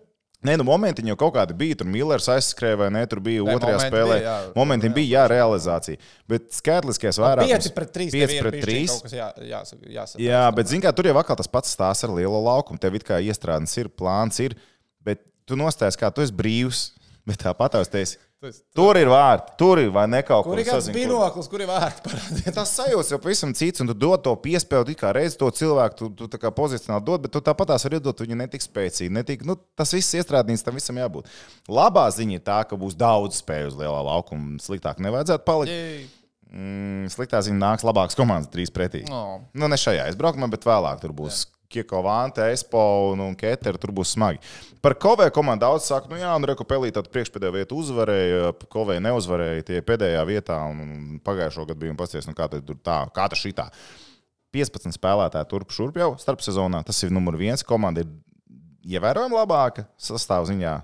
Nē, nu, momentiņi jau kaut kādi bija. Tur Millers aizskrēja, vai ne? Tur bija Nē, otrajā momenti spēlē. bija, jā. Nu, Momentam bija jārealizācija. Bet skaitliskais vairāk. 5 pret 3. 5 pret 3. Jā, jāsaka, jāsaka. Jā, bet zini, kā tur jau atkal tas pats stāsts ar lielo laukumu. Tev it kā iestrādes ir, plāns ir, bet tu nostājies kā tu esi brīvs. Bet tāpat jau teici, Tu esi- tur ir vārti, tur ir vai ne kaut Kur ir kas kāds binoklis, kur ir vārti parādīt? Ja tas sajūta jau pavisam cits, un tu dod to piespēli, it kā reizes to cilvēku tu, tu tā kā pozicionāli dod, bet tu tāpat tās var iedot viņu netik spēcīgi. Netik, nu, tas viss iestrādājums tam visam jābūt. Labā ziņa ir tā, ka būs daudz spēju uz lielā laukuma. Sliktāk nevajadzētu palikt. Mm, sliktā ziņa nāks labāks komandas trīs pretī. No. Nu, ne šajā aizbraukumā, bet vēlāk tur būs. Kieko Vante, Espo un, un Ketera tur būs smagi. Par Kovē komandu daudz saka, nu jā, nu Reku Pelī tad priekšpēdējā vieta uzvarēja, Kovē neuzvarēja, tie pēdējā vietā un, un pagājušo gadu bija un pasties, nu kā tad tur tā, kā tas šitā. 15 spēlētāji turp šurp jau starp sezonā, tas ir numur viens, komanda ir ievērojami labāka sastāvziņā.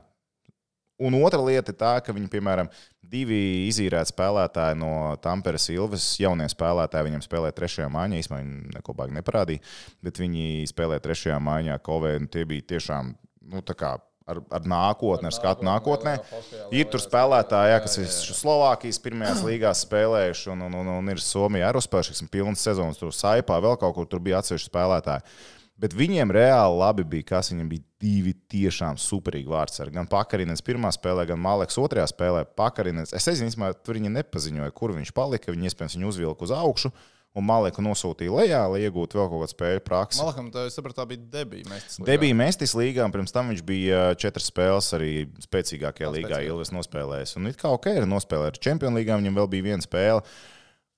Un otra lieta ir tā, ka viņi, piemēram, divi izīrēti spēlētāji no Tamperes Ilves, jaunie spēlētāji, viņiem spēlē trešajā maiņā. Īsumā viņi neko baigi neparādīja, bet viņi spēlē trešajā maiņā Kovē. un Tie bija tiešām, nu, tā kā. Ar, ar nākotni, ar skatu nākotnē. Ir tur spēlētāji, jā, kas ir Slovākijas pirmajās līgās spēlējuši, un, un, un, un ir Somija arī spēlējuši. Pilns sezonas tur saipā, vēl kaut kur tur bija atsevišķi spēlētāji. Bet viņiem reāli labi bija, kas viņam bija divi tiešām superīgi vārdsargi. Gan Pakarīnēns pirmā spēlē, gan Maleks otrajā spēlē. Pakarīnēns, es nezinu, īstenībā tur viņi nepaziņoja, kur viņš palika. Viņi iespējams viņu uzvilka uz augšu. Un Maleku nosūtīja lejā, lai iegūtu vēl kaut kādu spēļu praksi. Malakam, tā es sapratu, tā bija debija. Debija Mēstis līgā, un pirms tam viņš bija ā, četras spēles arī spēcīgākajā līgā, Ilves nospēlējis. Un it kā ok, ir nospēlējis Champions League, viņam vēl bija viena spēle.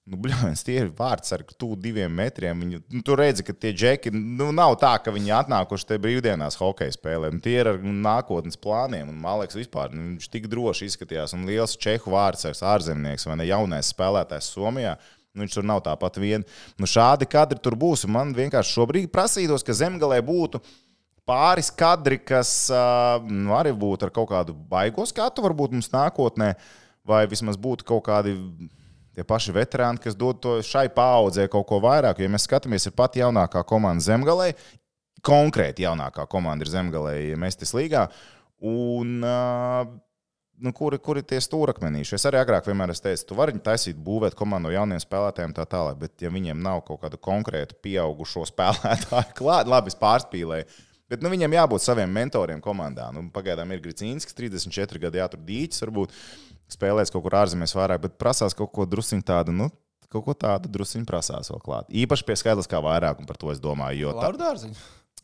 Nu, bļāvis, tie ir vārds ar tuvu diviem metriem. Viņu, nu, tu redzi, ka tie džeki nu, nav tā, ka viņi atnākuši te brīvdienās hokeja spēlē. Nu, tie ir ar nu, nākotnes plāniem. Un, Maleks vispār nu, viņš tik droši izskatījās. Un liels čehu vārds ar ārzemnieks vai ne jaunais spēlētājs Somijā. Nu, viņš tur nav tāpat vien. Nu, šādi kadri tur būs. Un man vienkārši šobrīd prasītos, ka zemgalē būtu pāris kadri, kas ā, nu, arī būtu ar kaut kādu baigo skatu, varbūt mums nākotnē, vai vismaz būtu kaut kādi. Tie paši veterāni, kas dod to šai paudzē kaut ko vairāk, jo, ja mēs skatāmies, ir pat jaunākā komanda zemgalē, konkrēti jaunākā komanda ir zemgalē, ja mēs tas līgā. Un, ā, nu, kur, kur ir tie stūrakmenīši? Es arī agrāk vienmēr esmu teicis, tu vari taisīt, būvēt komandu no jauniem spēlētājiem, tā tālāk, bet, ja viņiem nav kaut kāda konkrēta pieaugušo spēlētāju klāta, labi, es pārspīlēju. Bet nu, viņam jābūt saviem mentoriem komandā. Nu, pagaidām ir Gricīns, kas 34 gadu jātur dīķis, varbūt spēlēs kaut kur ārzemēs vairāk, bet prasās kaut ko drusku tādu. Nu, Kaut ko tādu drusku prasās vēl klāt. Īpaši pie skaitlis, kā vairāk, un par to es domāju. Jo tā, Ar dārziņu.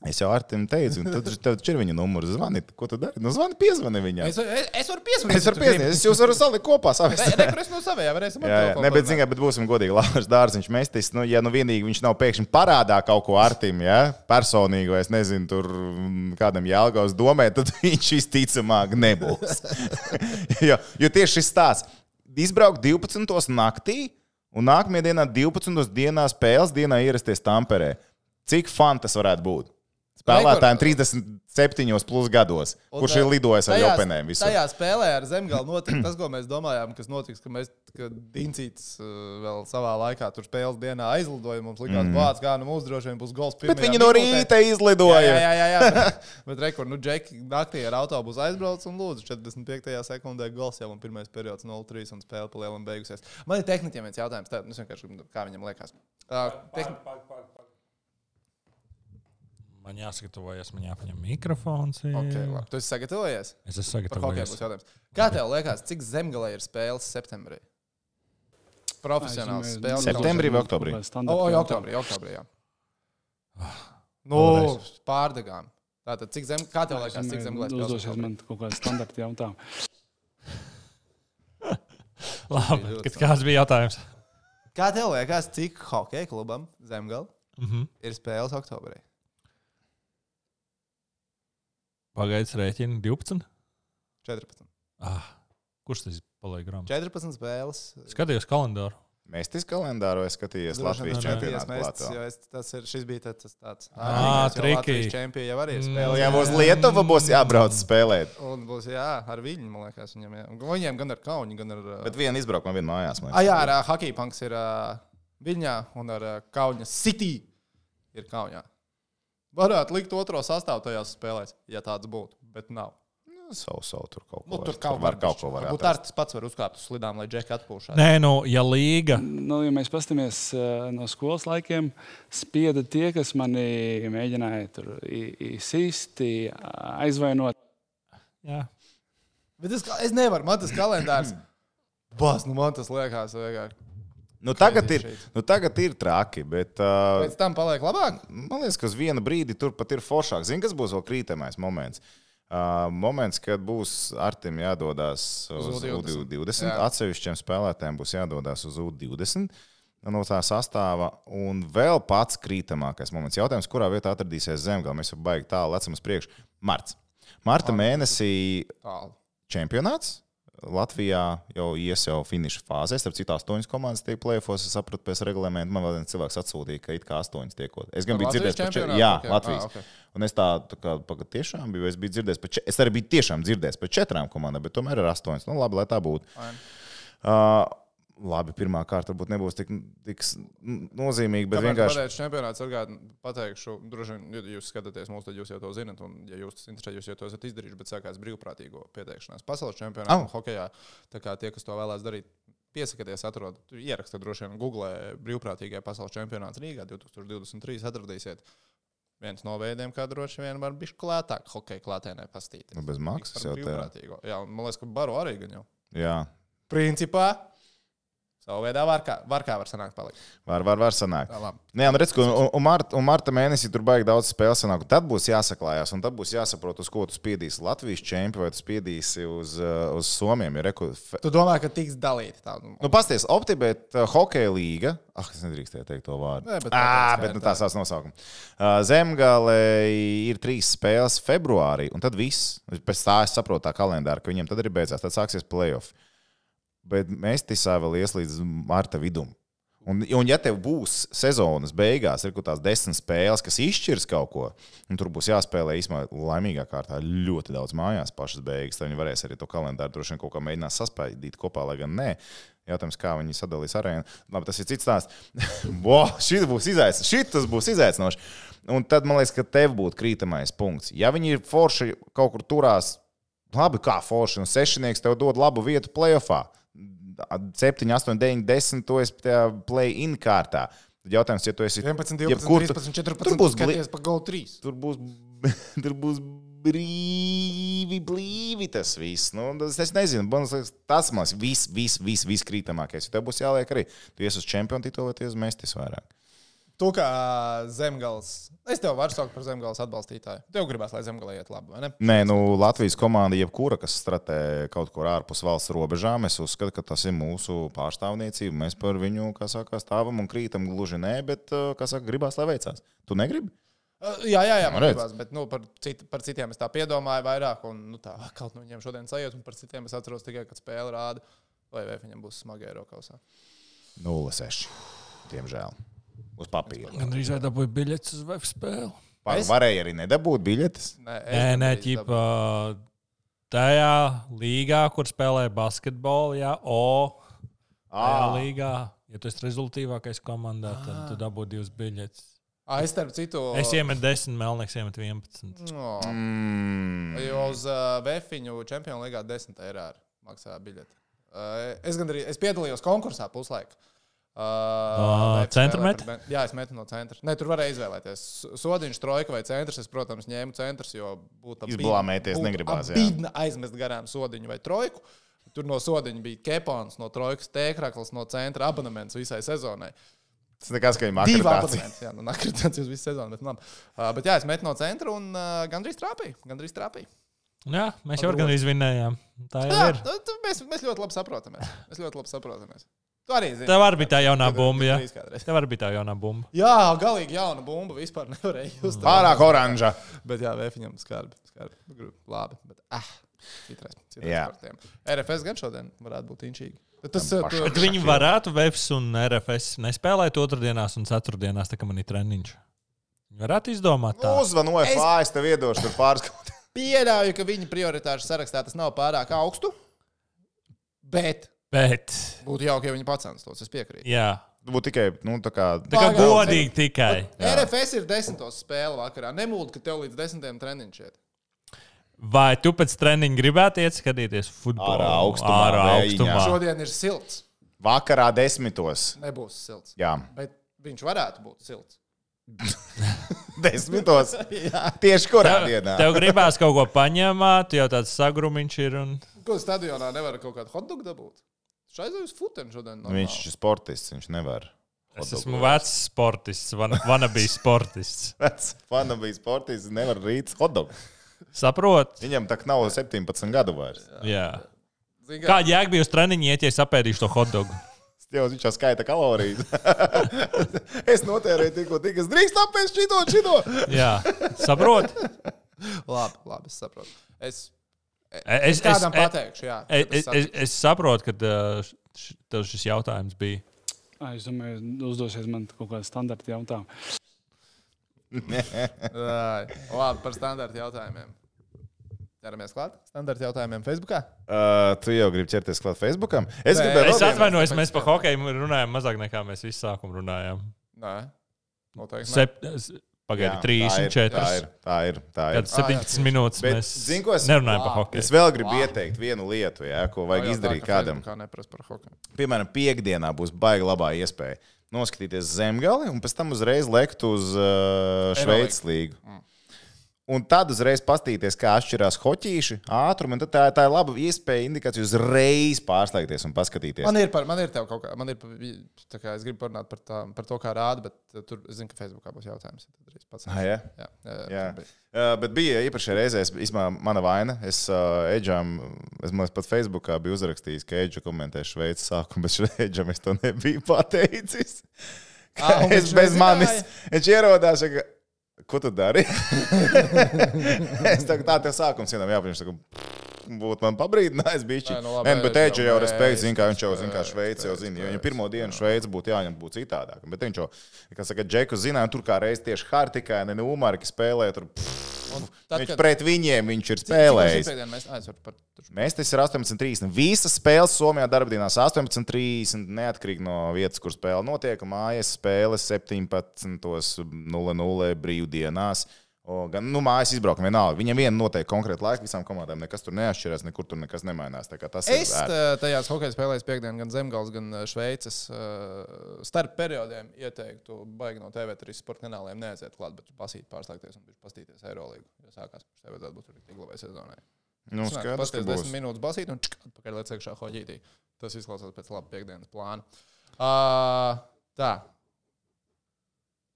es jau ar tiem teicu, un tad tev ir viņa numurs. Zvani, ko tu dari? Nu, zvani, piezvani viņai. Es, es, es varu piesprāstīt. Es varu piezvanīt, es jūs varu salikt kopā. Savest. Rekrutēs no savējā, varēsim Jā, jā. Ne, bet, zin, kā, bet būsim godīgi. Lauris Dārziņš mestis, nu, ja nu vienīgi viņš nav pēkšņi parādā kaut ko Artim, ja? personīgi, vai es nezinu, tur mm, kādam jāgaus domē, tad viņš visticamāk nebūs. jo, jo tieši šis stāsts izbraukt 12. naktī un nākamajā dienā 12. dienā spēles dienā ierasties Tamperē. Cik fan tas varētu būt? Spēlētājiem 37 plus gados, Un kurš tā- ir lidojis ar tajā- jopenēm visur. Tajā spēlē ar Zemgali notika tas, ko mēs domājām, kas notiks, ka mēs ka Dincīts uh, vēl savā laikā tur spēles dienā aizlidoja. Mums likās, mm. bāc, kā nu mums droši vien būs gols. Bet pirmajā viņi no minūtē." rīta Jā, izlidoja. jā, jā, jā, jā. bet, bet rekur, nu, Džeki naktī ar autobusu aizbrauc un lūdzu, 45. sekundē gols jau un pirmais periods 0-3 un spēle pa lielam beigusies. Man ir tehnikiem viens jautājums, tad es vienkārši gribu, kā viņam liekas. Uh, tehn... Man jāsagatavojas, man jāpaņem mikrofons. ir. okay, labi. tu esi sagatavojies? es esmu Par hokeju sagatavojies. būs jautājums. Kā tev liekas, cik zemgalē ir spēles septembrī? Profesionāls spēles. Septembrī? vai oktobrī? O, o, jā, oktobrī, oktobrī, jā. Nu, Ah, vēlreiz. pārdagām. Tātad, cik zem, kā tev liekas, cik zemgalē spēles? Uzdosies oktobrī? man kaut kādu standartu jautājumu. Labi, Ļoti kad kāds bija jautājums? Kā tev liekas, cik hokeja klubam zemgalē Mhm. ir spēles oktobrī? Pagaidzi, rēķini 12. 14. Ah, kurš tas paliek grāmatā? 14 spēles. Skatījos kalendāru. Mēstis kalendāru es skatījos Droši vien Latvijas tas bija čempionātā. iesmēsts, Latvijas jo es- Tas ir šis bija tāds, tāds Ā, ārlīgas, jo Latvijas triki. čempioni jau arī ir Mm. spēlējuši. Jā, būs Lietuva, būs jābrauc spēlēt. Un būs jā, ar viņu, man liekas, viņam, jā. viņiem gan ar kauni, gan ar. ā, Bet viena izbraukuma, viena mājās. man Ah, jā, liekas. ar Hakiju Punkts ir ā, viņā un ar ā, Kauna City ir Kaunijā. Varētu likt otro sastāvu tajās spēlēs, ja tāds būtu, bet nav. Nu, Savu, savu tur kaut ko. Nu, tur var- kaut, var kaut ko Varbūt varētu. Artis pats var uzkāpt uz slidām, lai Džeki atpūšās. Nē, nu, ja līga. Nu, ja mēs paskatāmies eh, no skolas laikiem, spieda tie, kas mani mēģināja tur i- izsist, i- aizvainot. Jā. Bet es, ka- es nevaru, man tas kalendārs. Bas, nu man tas liekas, vienkārši. Nu, tagad, Crazy ir, shit. nu, tagad ir traki, bet uh, Pēc tam paliek labāk. man liekas, ka uz vienu brīdi tur pat ir foršāk. Zini, kas būs vēl krītamais moments? Uh, moments, kad būs Artim jādodas Uz uz U20. U20. Jā. Atsevišķiem spēlētājiem būs jādodas uz U20 no tā sastāva. Un vēl pats krītamākais moments. Jautājums, kurā vietā atradīsies zemgale? Mēs jau baigi tālu lecam uz priekšu. Marts. Marta mēnesī Tālu. čempionāts. Latvijā jau ies jau finiša fāzē. Starp citu, astoņas komandas tiek plēfos. Es sapratu, pēc reglamentu man vēl viens cilvēks atsūtīja, ka it kā astoņas tiekot. Es gan Par biju Nu, Latvijas dzirdējis par četrām. čempionātu? Jā, Ok, Latvijas. ah, ok. Un es tādu tā kā paga- tiešām biju, es biju dzirdējis par četrām. Es arī biju tiešām dzirdējis par četrām komandām, bet tomēr ir astoņas. Nu, labi, lai tā būtu. Uh, labi, pirmā kārta varbūt nebūs tik, tik s- n- nozīmīga, bet Kāpēc vienkārši. vienkārši... čempionāts atgādāt, pateikšu, droši vien, ja jūs skatāties mūsu, tad jūs jau to zinat, un, ja jūs tas interesē, jūs jau to esat izdarījuši, bet sākās brīvprātīgo pieteikšanās pasaules čempionātā Au. oh. hokeja. Tā kā tie, kas to vēlās darīt, piesakieties, atrodiet, ierakstiet droši vien Google brīvprātīgajā pasaules čempionāts Rīgā 2023. atradīsiet. Viens no veidiem, kā droši vien var būt klātāk, hockey klātienē pastīties. Nu, bez maksas Par jau tā. brīvprātīgo. Jā, un man liekas, ka baro arī gan jau. Jā, Principā, savā veidā varkā, varkā var sanākt palikt. var, var, var sanākt. Tā, labi. Nē, un redz, ka un, un, marta, un marta mēnesī tur baigi daudz spēļu sanāk. Tad būs jāsaklājās, un tad būs jāsaprot, uz ko tu spiedīsi Latvijas čempionu vai tu spiedīsi uz, uh, uz Somiem. Ja reku, fe... Tu domā, ka tiks dalīti tādu Nu, pasties, Optibet, uh, Hokeja līga. Ah, es nedrīkstēju teikt to vārdu. Nē, bet Ā, tā bet nu, ir tā sās nosaukuma. Uh, Zemgale ir trīs spēles februārī, un tad viss. Pēc tā es saprotu tā kalendāru, ka viņiem tad arī beidzās, tad sāksies playoff. Bet mēs tisā vēl ies līdz marta vidum. Un, un ja tev būs sezonas beigās, ir kaut kādas desmit spēles, kas izšķirs kaut ko, un tur būs jāspēlē īstenībā laimīgā kārtā ļoti daudz mājās pašas beigas, tad viņi varēs arī to kalendāru droši vien kaut kā mēģināt saspēdīt kopā, lai gan nē. Jautājums, kā viņi sadalīs arēnu. Labi, tas ir cits stāsts. Bo, šis būs izaicinājums. Šis būs izaicinošs. Un tad man liekas, ka tev būtu krītamais punkts. Ja viņi ir forši kaut kur turās, labi, kā forši, un sešnieks tev dod labu vietu playoffā. 7, 8, 9, 10. To es tajā play-in kārtā. Tad jautājums, ja tu esi 11, 12, Nu, jebkur tu- 13, tur 14. būs gli- skaties pa GOL 3. tur būs, tur būs brīvi, blīvi tas viss. Nu, tas, es nezinu, man liekas, tas man liekas, viss, viss, viss, viss krītamākais. Jo Tev būs jāliek arī, tu ies uz čempionu titulu vai tu ies uz mestis vairāk. Tu kā zemgals, es tev varu saukt par zemgals atbalstītāju. Tev gribēs, lai zemgalē iet labi, vai ne? Nē, nu, Latvijas komanda, jebkura, kas stratē kaut kur ārpus valsts robežām, es uzskatu, ka tas ir mūsu pārstāvniecība. Mēs par viņu, kā saka, stāvam un krītam gluži nē, bet, eh, kā saka, gribās, lai veicās. Tu negribi? Uh, Jā, jā, jā man Redz. gribēs, bet nu, par, cit, par citiem es tā piedomāju vairāk, un nu, tā kaut no viņiem šodien sajūta, un par citiem es atceros tikai, kad spēle rāda, vai vai viņam būs smagi Eirokausā. 0,6. Diemžēl. Uz papīra. Gan drīz dabūju biļetes uz web spēli. Pār, Es- varēja arī nedabūt biļetes. Nē, Nē, es nē, gandrīz ķipa. Tajā līgā, kur spēlēja basketbolu, jā, O. Tajā Ā. līgā, ja tu esi rezultātīvākais komandā, tad tu dabūji divas biļetes. Ai, starp citu, Es iemetu 10, Melnieks iemet 11. No, Mm. jo uz uh, Vēfiņu čempionu līgā 10 eiro arī maksā biļete. Uh, es gandrīz, es piedalījos konkursā puslaika. Ā, Uh, Vēfi centra spēlē met? par Ben- Jā, es metu no centra. Nē, tur varēja izvēlēties. Sodiņš, trojka vai centrs. Es, protams, ņēmu centrs, jo būtu abi- Izblāmēties būtu negribās, jā. Abīdna aizmest garām sodiņu vai trojku. Tur no sodiņa bija kepons, no trojkas tēkrakls, no centra abonements visai sezonai. Tas nekā skaņā Divi maksā. abonementi. Jā, nu, akreditācijas visu sezonu. Bet, labi. uh, bet jā, es metu no centra un uh, gandrīz trāpīju. Gandrīz trāpīju. Jā, mēs jau gan izvinējām. Tā jau Jā, ir. tu, tu, mēs, mēs ļoti labi saprotamies. Mēs ļoti labi saprotamies. Tu arī zini. Tev arī bija tā jaunā Kad- bumba. jā. gandrīz kādreiz. Tev arī bija tā jaunā bumba. Jā, galīgi jauna bumba. Vispār nevarēja just. Pārāk oranžā. Bet jā, vēfiņam skarbi. skarbi. Gru- Labi. Bet, ah, citreiz. Jā. Citreiz par tiem. RFS gan šodien varētu būt inčīgi. Bet tas eh, Tam tu- pašam. Bet Viņi varētu Vēfs un RFS nespēlēt otrdienās un ceturtdienās, tā kā man ir treniņš. Viņi varētu izdomāt tā. Uzvanu FA, es tev iedošu tur pārskatu. pieļauju, ka viņa prioritāšu sarakstā tas nav pārāk augstu. Bet Bet, būtu jauki, ja viņi pacenstos. Es piekrītu. jā, Tu būtu tikai, nu, tā kā. tā kā Pagaidzi. godīgi tikai. Jā. RFS ir desmitos spēle vakarā. Nemūd, ka tev līdz desmitiem treniņš iet. Vai tu pēc treniņa gribētu iet skatīties futbolu? Ārā augstumā, Ārā vējiņā. augstumā. Šodien ir silts. Vakarā desmitos. Nebūs silts. Jā, Bet viņš varētu būt silts. desmitos. Tieši kurā Tev, dienā? tev gribās kaut ko paņemt, jau tāds sagrumiņš ir. Un... Ko stadionā nevar kaut kādu hotdogu dabūt? Šai zvaigznes futenu šodien. normāli. Viņš ir sportists, viņš nevar. Es esmu vecs sportists, vanabīs sportists. Vecs fana bija sportists, nevar rīt hotdog. Saprot? Viņam tā kā nav 17 gadu vairs. Jā. Zini kā, Kāda jēga bija uz treniņa iet, ja es apēdīšu to hotdogu? Jau viņš jau skaita kalorijas. es notērēju tikko, tik es drīkstu apēst šito, šito. Jā, saprot? Labi, labi, es saprotu. Es E, Es, es, e- Kādam es, pateikšu, jā. es, es, es saprotu, ka uh, š- tev šis jautājums bija. Ai, Ah, Es domāju, uzdosies man kaut kāda standarta jautājuma. Ai, Labi, par standarta jautājumiem. Ķeramies klāt standarta jautājumiem Facebookā. Uh, tu jau gribi ķerties klāt Facebookam? Es Nē, gribēju Es vēl vienu. atvainojos, mēs par hokeju runājam mazāk nekā mēs visu sākumu runājām. Nē, noteikti. Sep... Sep, Jā, pagaidiet, tā ir, 34. Tā ir, tā ir. Tā ir. Tad 17 minūtes Bet, mēs zini, ko es- nerunājam par Es hokeju. vēl gribu ieteikt vienu lietu, jā, ko vajag izdarīt kādam. Kā neprasa par hokeju. Piemēram, piekdienā būs baigta labā iespēja noskatīties zemgali un pēc tam uzreiz lekt uz uh, Šveices līgu. Un tad uzreiz paskatīties, kā atšķirās hoķīši, ātrumi. un tad Tā, tā ir laba iespēja, indikācija uzreiz pārslēgties un paskatīties. Man ir par, man ir tev kaut kā, man ir, par- tā kā es gribu parunāt par, tā, par to, kā rāda, bet eh, tur es zinu, ka Facebookā būs jautājums. Tad arī es pats. Ah, jā? jā, jā, jā. Jā. tur bija. Uh, bet bija iepriekšējā reizē, es, īsmā, mana vaina. Es uh, Edžam, es domāju, pat Facebookā biju uzrakstījis, ka Edžam komentē Šveices sākumu, bet Edžam es to nebiju pateicis. Ah, Ah, un es viņš bez nezināja? manis, viņš ierodās. Saka, Ko tu dari? es tā kā tā tev sākums vienam jāpriekš. saku, Būtu man pabrīdinājis, bija Nē, nu labi, Nē, bet Edžam, Edžam jau Edžam, respekts, zina, kā viņš jau zina, kā Edžam, Šveice jau Edžam, zina. Ja viņa Edžam, pirmo dienu Šveice būtu jāņem, būtu citādāk. Bet viņš jau, kā saka, Džeku zināja, tur kā reiz tieši Hartikai, ne Umarki spēlēja. Un Tur, tad, tad, kad- viņš kad... pret viņiem viņš ir Cik- cik mums ir spēlējis. piekdiena? Mēs aizvaram par tur. Mēs tas ir 18.30. Nu, Visas spēles Somijā darbdienās 18.30. Neatkarīgi no vietas, kur spēle notiek. Mājas spēles 17.00 brīvdienās. O, gan, nu, mājas izbraukuma vienalga. Viņam viena noteikti konkrēta laika visām komandām. Nekas tur neatšķirās, nekur tur nekas nemainās. Tā kā Es Tas eh, ir. vērts. tā- tajās hokeja spēlēs piekdienā gan Zemgals, gan eh, Šveices eh, starp periodiem ieteiktu, baigi no TV3 sporta kanāliem neaiziet klāt, bet pasīt pārslēgties un paskatīties Eirolīgu. Jo sākās, ka tev vajadzētu būt tur tik labai sezonai. Nu, skaidrs, ka Paskaties būs. desmit minūtes basīt un čk, atpakaļ lec iekšā hoģītī. Tas izklausās pēc laba piekdienas plāna. Uh, tā.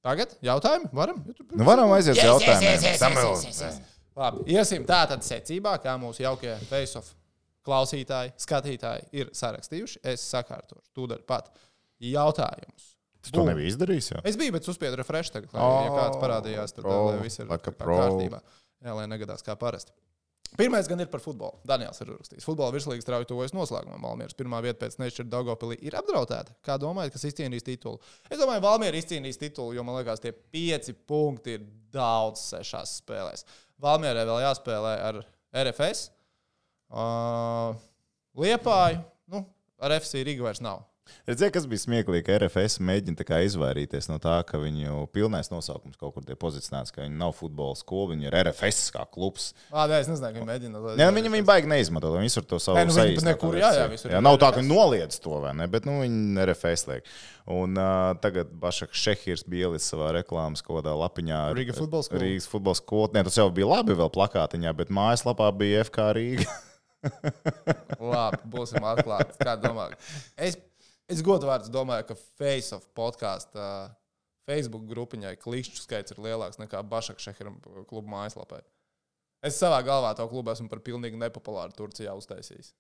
Tagad jautājumi? Varam? Jo tur- Nu, varam aiziet uz jautājumiem. Labi, iesim tā tad secībā, kā mūsu jaukie face-off klausītāji, skatītāji ir sarakstījuši. Es sakārtošu tūdaļ pat jautājumus. Tu to nebija izdarījis. jau? Es biju, bet uzspiedu refresh tagad, lai, Oh, oh, ja kāds parādījās, tad pro, lai viss ir like kā a pro. kārtībā. Jā, lai negadās kā parasti. Pirmais gan ir par futbolu. Daniels ir rakstījis. Futbola virslīgas strauji tuvojas noslēgumam. Valmieras pirmā vieta pēc nešķirta Daugopilī ir apdraudēta. Kā domājat, kas izcīnīs titulu? Es domāju, Valmiera izcīnīs titulu, jo man liekas, tie pieci punkti ir daudz sešās spēlēs. Valmierai vēl jāspēlē ar RFS. Uh, Liepāju, nu, ar FC Rīgu vairs nav. Redzēju, kas bija smieklīgi, ka RFS mēģina tā kā izvairīties no tā, ka viņu pilnais nosaukums kaut kur tiek pozicionēts, ka viņi nav futbola skola, viņi ir RFS kā klubs. Ah, jā, es nezināju, ka viņi mēģina. Jā, viņi viņu baigi neizmanto. Viņi visur to savu Nē, nu, viņi saīsināto nekur, jā, versiju. jā, visur jā, ir nav tā, ka viņi noliedz to vai ne, bet nu, viņi RFS liek. Un uh, tagad Bašaks Šehirs Bielis savā reklāmas kodā lapiņā. ar- Riga Football School. Rīgas futbola skola. Nē, tas jau bija labi vēl plakātiņā, bet mājaslapā bija FK Rīga. Labi, būsim atklāti. Kā domā? Es, es godvārds domāju, ka Face of podkāstu Facebook grupiņai klikšķu skaits ir lielāks nekā Bašaka Šeheram kluba mājaslapē. Es savā galvā to klubu esmu par pilnīgi nepopulāru Turcijā uztaisījis.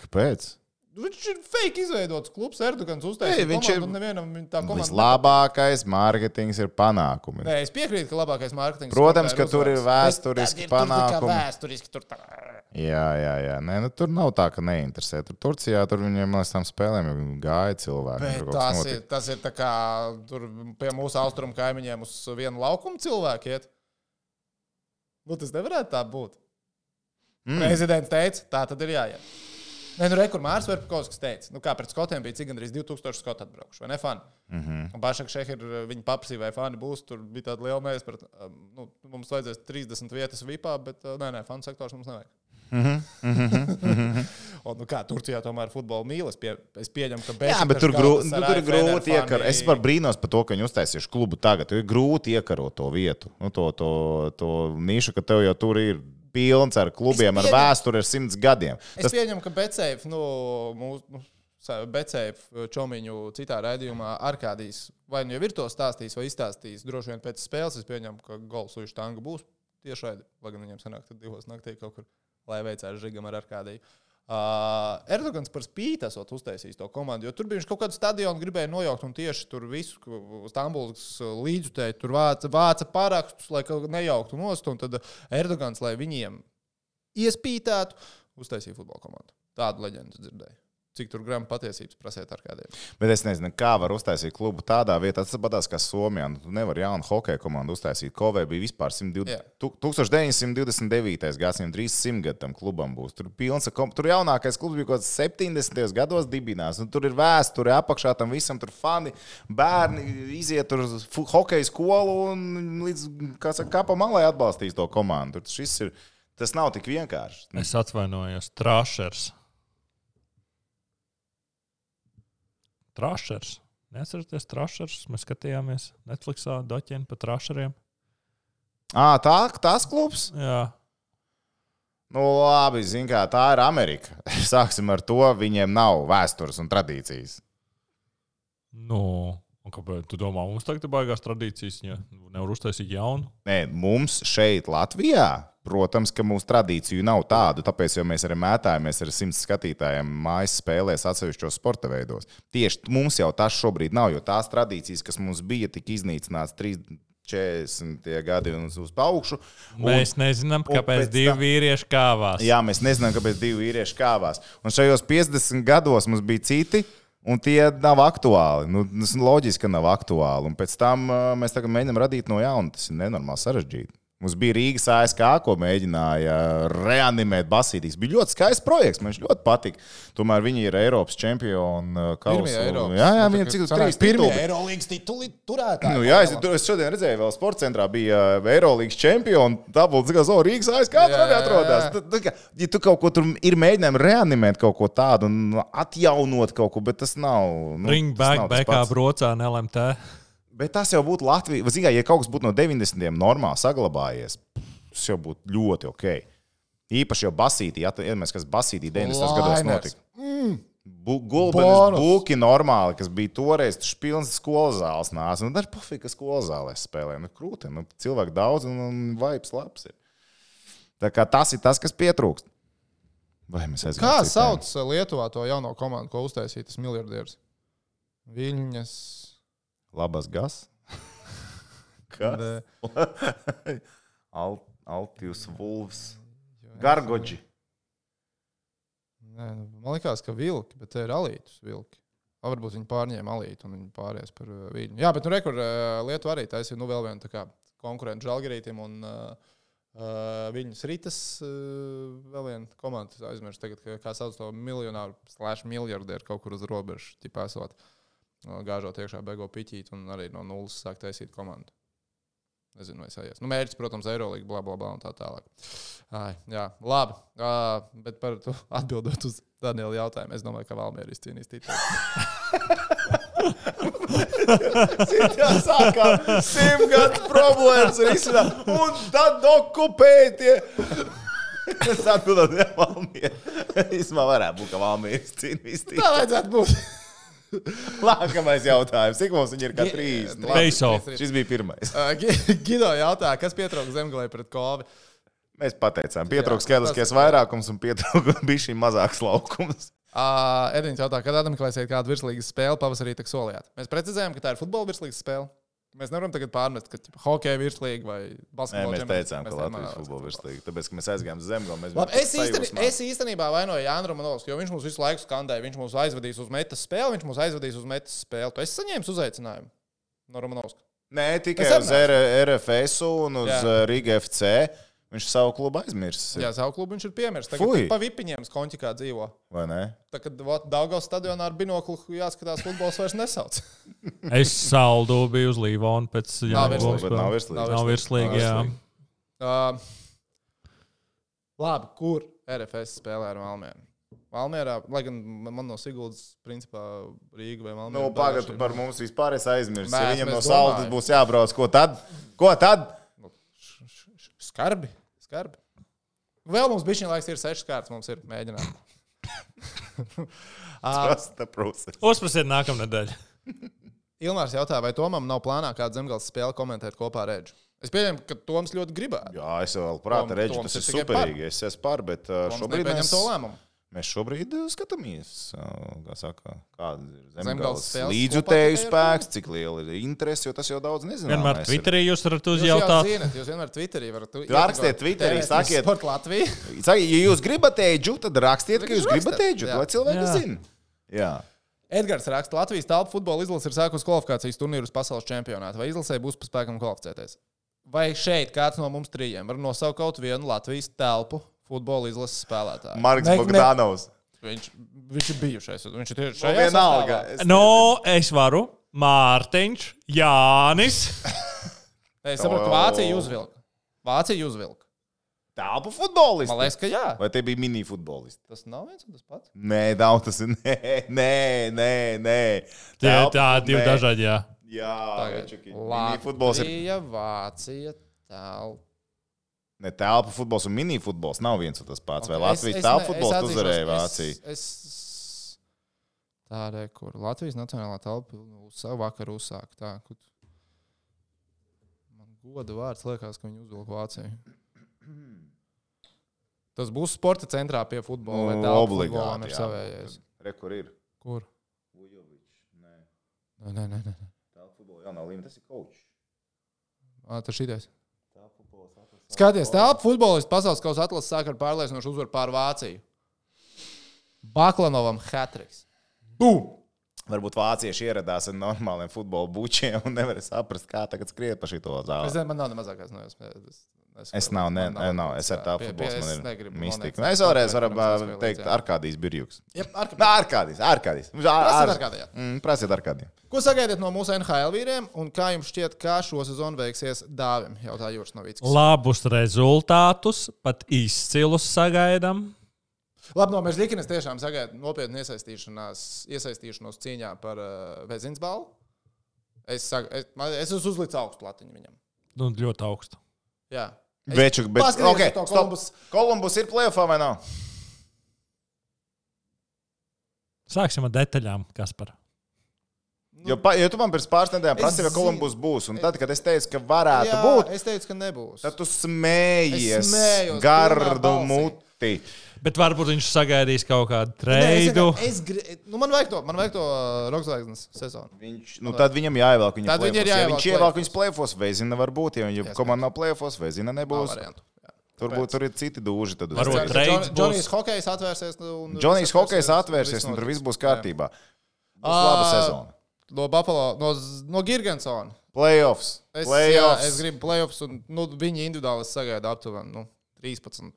Kāpēc? Nu, Viņš ir fake izveidots klubs, Erdogans Ei, uztaisījis. viņš Viņš ir- ir nevienam viņa tā komanda. Vislabākais mārketings ir panākumi. Nē, es piekrītu, ka labākais mārketings. Protams, sportā ka tur ir uzvaras. vēsturiski panākumi. Vēsturiski tur tā. Jā, jā, jā. Nē, nu, tur nav tā, ka neinteresē. Tur Turcijā tur viņiem ar tām spēlēm jau gāja cilvēki. Bet tur kaut kas Tas notika. ir, tas ir tā kā tur pie mūsu austrumu kaimiņiem uz vienu laukumu cilvēki iet. Nu, tas nevarētu tā būt. Mm. Mm. Prezidents teica, tā tad ir jāiet. Nē, nu, rekur Mārcis Verpakovskis teica, nu, kā pret skotiem bija cik gandrīz 2000 skotu atbraukšu, vai ne fani? Mm Mhm. -hmm. Un Bašak Šehir, viņi paprasīja, vai fani būs, tur bija tāda liela mēs, par, um, nu, mums vajadzēs 30 vietas vipā, bet, uh, nē, nē, fanu sektors mums nevajag. Mhm. Un, nu, kā Turcijā tomēr ir futbola mīlestība, pie, es pieņemu, ka Jā, Besiktas bet tur, grū, Galatasaray, nu, tur ir grūti Fener iekarot. fani- Es par brīnos par to, ka viņi uztaisījuši klubu tagad. Ir grūti iekarot to vietu, nu, to, to, to nišu, ka tev jau tur ir pilns ar klubiem, ar pieņemu- vēsturi, ar simts gadiem. Es Tas, tas... pieņemu, ka Becēvs, nu, mūsu nu, sa- Becēv čomiņu citā raidījumā Arkādijas vai nu jau ir to stāstījis, vai izstāstījis droši vien pēc spēles. Es pieņemu, ka Golfs uz štanga būs tieši raidījumā, lai gan viņam sanāk, tad divos naktī kaut kur, lai veicās žigam ar Arkādiju. Uh, Erdogans par spīti esot uztaisījis to komandu, jo tur bija viņš kaut kādu stadionu gribēja nojaukt un tieši tur visu ko- Stambulas uh, līdzjutēju tur vāca, vāca parakstus, lai kaut kā nejauktu nost. Un tad Erdogans, lai viņiem iespītētu, uztaisīja futbola komandu. Tādu leģendu dzirdēju. Cik tur gramu patiesības prasēt ar kādiem? Bet es nezinu, kā var uztaisīt klubu tādā vietā. Tas patās kā Somijā. Nu, tu nevari jaunu hokeja komandu uztaisīt. Kovē bija vispār 120, Jā. tu- 1929. gadsimta, 300 gadu tam klubam būs. Tur, pilns, ar kom- tur jaunākais klubs bija kaut kāds 70. gados dibināts. Un tur ir vēsture apakšā tam visam. Tur fani, bērni iziet tur uz fu- hokeja skolu un līdz kā saka, kapa malai atbalstīs to komandu. Tur šis ir. Tas nav tik vienkārši. Es atvainojos, Trāšers. Trāšers. Neatcerieties, Trāšers. Mēs skatījāmies Netflixā doķienu par Trāšeriem. À, tā, tas klubs? Jā, Nu, labi, zin kā, tā ir Amerika. Sāksim ar to, viņiem nav vēstures un tradīcijas. nu. Un kāpēc? Tu domā, mums tagad ir baigās tradīcijas, ja nevar uztaisīt jaunu? Nē, mums šeit, Latvijā, protams, ka mūsu tradīciju nav tādu, tāpēc jau mēs arī mētājamies ar simts skatītājiem mājas spēlēs atsevišķos sporta veidos. Tieši mums jau tas šobrīd nav, jo tās tradīcijas, kas mums bija, tika iznīcināts 30, 40 gadi un uz- uz augšu. Mēs nezinām, un kāpēc pēc divi tam- vīrieši kāvās. Jā, mēs nezinām, kāpēc divi vīrieši kāvās. Un šajos 50 gados mums bija citi. Un tie nav aktuāli. Nu, tas ir loģiski, ka nav aktuāli. Un pēc tam uh, mēs tagad mēģinām radīt no jauna. Tas ir nenormāli sarežģīti. Mums bija Rīgas ASK, ko mēģināja reanimēt Basītīs. Bija ļoti skaists projekts, man viņš ļoti patika. Tomēr viņi ir Eiropas čempioni. uh, Pirmie kausu- Eiropas. Jā, jā Nu, tā viņiem kā cik tur sanāk, trīs Pirmie tituli. Eirolandes tituli turētāji. Nu, jā, es, tur, es šodien redzēju, vēl sporta centrā bija eh, Eirolandes čempions. Tā bija tā, ka Rīgas ASK Jā, tur arī jā, atrodas. jā. Tad, tad, kā, Ja tu kaut ko tur ir mēģinājumi reanimēt, kaut ko tādu, un atjaunot kaut ko, bet tas nav. Nu, Ring tas back, nav tas backā pats. brocā, NLMT. Bet tas jau būtu Latvijas, vai zināmā, ja kaut kas būtu no 90. normāli saglabājies, tas jau būtu ļoti ok. Īpaši jau Basītī, atcerieties, kas Basītī 90. gados Laimers. notika. Mm. Bu- Gulbenis Bonus. būki normāli, kas bija toreiz, tas pilns skolas zāles nāca. Nu, dar pofīgi, ka skolas zālēs spēlē. Nu, krūti, nu, cilvēki daudz un, un vibes labs ir. Tā kā tas ir tas, kas pietrūkst. Vai mēs aizgājām? Kā citiem? sauc uh, Lietuvā to jauno komandu, ko uztaisīja tas miljardieris? Viņas. Labas gas. Kas? Nē. Alt, Altius Vulfs. Gargoģi. Nē, nu, man liekas, ka vilki, bet te ir alītas vilki. A, varbūt viņi pārņēma alītu un viņi pāries par uh, viņu. Jā, bet nu, rekur, uh, Lietuva arī taisīja nu, vēl vienu tā kā konkurentu žalgarītiem un uh, uh, viņas ritas. Uh, vēl viena komanda, es aizmirsu tagad, ka- kā sauc to miljonāru, slēdz miljardieru kaut kur uz robežas, tipā esot. no, Gāžot iekšā, beigo piķīt un arī no nulles sāk taisīt komandu. Nezinu, vai sajies. Nu, mērķis, protams, ir Eirolands, bla, bla, bla, un tā tālāk. Ai, jā, labi. Uh, bet par to atbildot uz Daniela jautājumu, es domāju, ka Valmēra izcīnīs titulu. Citā sākā simtgadus problēmas ir izsvērts. Un tad okupētie. Es atbildēju, ja Valmiera. Īsumā varētu būt, ka Valmiera ir cīnīstība. Tā vajadzētu būt. Nākamais jautājums. Cik mums viņi ir kā trīs? Nu, labi. Face off. Šis bija pirmais. Uh, Gi- Gido jautā, kas pietrūka zemgolē pret Kovi? Mēs pateicām, pietrūkst Jā, skaitliskais vairākums un pietrūkst bija šī mazāks laukums. Uh, Edins jautā, kad atmeklēsiet kādu virslīgas spēli pavasarī, tad solījāt. Mēs precizējām, ka tā ir futbola virslīgas spēle. Mēs nevaram tagad pārmest, ka tipa, hokeja virslīga vai Nē, basketbola mēs čempionāts. teicām, ka Mēs nevaram Latvijas vēlēt. futbola virslīga, tāpēc, ka mēs aizgājām uz zemgālu. mēs Labi, bijām es, īsteni, sajūsmā. es īstenībā vainoju Jānu Romanovskiju, jo viņš mums visu laiku skandēja. Viņš mūs aizvedīs uz metas spēli, viņš mūs aizvedīs uz metas spēli. Tu esi saņēmis uzaicinājumu no Romanovska. Nē, Es tikai arī uz R- RFS un uz Jā. uh, Riga FC. Viņš savu klubu aizmirsis. Jā, savu klubu viņš ir piemirs. Fui. Tagad pa vipiņiem skonķikā dzīvo. Vai ne? Tā kā Dāngālas stadionā ar binoklu jāskatās, futbols vairs nesauc. Es saldu biju uz Līvona pēc Nav Jānis virslīgi. Gulbs. Bet nav virslīgi. Nav virslīgi, jā. Uh, labi, kur RFS spēlē ar Valmēru? Valmērā, lai gan man no Siguldas, principā Rīga vai Valmērā. Nu, Pagaidu par mums vispār es aizmirsu. Ja Mēs- viņam mēs no saldas domājam. būs jābrauc, ko tad? Ko tad? Skarbi. skarbi. Vēl mums bija šī laiks, ir sešas kārtas. Mums ir mēģinājums. Prasta prūsa. Uzprasiet nākamnedēļ. Ilmārs jautā, vai Tomam nav plānā kāda zemgāles spēle komentēt kopā ar Rēģu? Es pieņemu, ka Toms ļoti gribētu. Jā, es vēl prātā Tom- redzu, Toms tas ir ir tikai superīgi. Es esmu par, bet uh, Toms šobrīd nepaņem mēs, to lēmumu. Mēs šobrīd eh, skatāmies, eh, kā saka, kāda Zemgales ir zemgājas spēles kopā tikai līdzjutēju ar- spēks, cik liela ir interese, jo tas jau daudz nezināms. Vienmēr Twitterī jūs varat Jūs jau uzjautāt. zināt, jūs vienmēr Twitterī varat. tu- Rakstiet ietekot Twitterī, TVS sakiet- Sport Latviju. Saka, ja jūs gribat ēģu, tad rakstiet, ka Vienkārši jūs gribat rakstiet, ēģu, jā. lai cilvēki Jā. zinātu. Jā. Edgars raksta, Latvijas telpu futbola izlase ir sākusi kvalifikācijas turnīru uz pasaules čempionātu. Vai izlasē būs pa spēkam kvalificēties? Vai šeit kāds no mums trījiem var nosaukt kaut vienu Latvijas telpu futbola izlases spēlētāju? Marks Ne- ne- Bogdanovs. Viņš, viņš ir bijušais. Viņš ir tieši Nu, šajā Vienalga. sastāvā. Es- No, es varu. Mārtiņš, Jānis. Es saprotu, ka Vācija uzvilka. Vācija uzvilka. Tāpu futbolists. Man liekas, ka jā. Vai te bija mini futbolists? Tas nav viens un tas pats. Nē, nav tas. ir- Nē, nē, nē. nē. Tie Telpu, tā, divi nu, nē. dažādi, jā. Jā, čeki. Mini futbols ir. Latvija, Vācija, telpa. Ne telpu futbols un mini futbols nav viens un tas pats. Vai Ok, es- Latvijas es telpu ne- futbols es atzīšos, uzvarēja es- Vācija? Es, tā ir, kur Latvijas nacionālā telpa uzsāka vakar uzsāka. Tā, kur... Man goda vārds liekas, ka viņi uzvilka Vāciju. Tas būs sporta centrā pie futbola. Nu, Nu, obligāti, ir jā. savējais. Re, kur ir? Kur? Nē, nē, nē. nē. Telpu futbola jaunā līnija, tas ir coach. Ā, Tas šitais. Skaties, telpa futbolists pasaules kausa atlases sāk ar pārliecinošu uzvaru pār Vāciju. Baklanovam Hatriks. Bum! Varbūt vācieši ieradās ar normāliem futbola bučiem un nevar saprast, kā tagad skriet pa šito Es zāli. nezinu, man nav ne mazākās nojausmas. Es nav, nē, nē, nav, es ar tādu futbolu man ir mistika. Es vēlreiz varu ā, teikt, Arkādijas birjuks. Jā, ar Nā, Arkādijas, Arkādijas. Prasiet Arkādijā. Mm, Prasiet Arkādijā. Ko sagaidiet no mūsu NHL vīriem un kā jums šķiet, kā šo sezonu veiksies dāvim? Jautā Jūras Novickis. Labus rezultātus, pat izcilus sagaidām. Labi, no Mežģīnas tiešām sagaidu nopietnu iesaistīšanās, iesaistīšanos cīņā par uh, Vēzins balvu. Es, saga- es, man- es esmu uzlicis augstu latiņu viņam. Nu, ļoti augstu. Jā. Es Večuk, bet paskatījos okay, uz to stop. Kolumbus. Kolumbus ir plēsoņā vai nav? Sāksim ar detaļām, kas par. Jo, pa, jo tu man pirms pāris Nu, nedēļām Es prasīji, vai zinu. Kolumbus būs. Un tad, kad es teicu, ka varētu Jā, būt, es teicu, ka nebūs. tad tu smējies Es smējos pilnā gardu balsī. muti. Bet varbūt viņš sagaidīs kaut kādu Nē, es, treidu. vienkārši- es, gri- nu, man vajag to, man vajag to Rockzvaigznes sezonu. Viņš, nu, tad viņam jāievelk viņa Tad viņu ir plēfos. Ja jāievelk viņš ievelk plēfos. viņus plēfos, vezina var būt. Ja viņa komanda nav plēfos, vezina Nav nebūs. variantu. Jā. Turbūt tur ir citi duži. tad Varbūt uzreiz. Ceru, ka Reids būs- Džonijs Hokejs atvērsies. nu, un- Džonijs Hokejs atvērsies, viss un nu, tur notiks. viss būs kārtībā. Būs Ā. laba sezona. No Buffalo, no, Z- no Girgensona. Playoffs. Es, jā, es Playoffs. gribu playoffs, un nu, viņi individuāli sagaida aptuveni nu, 13.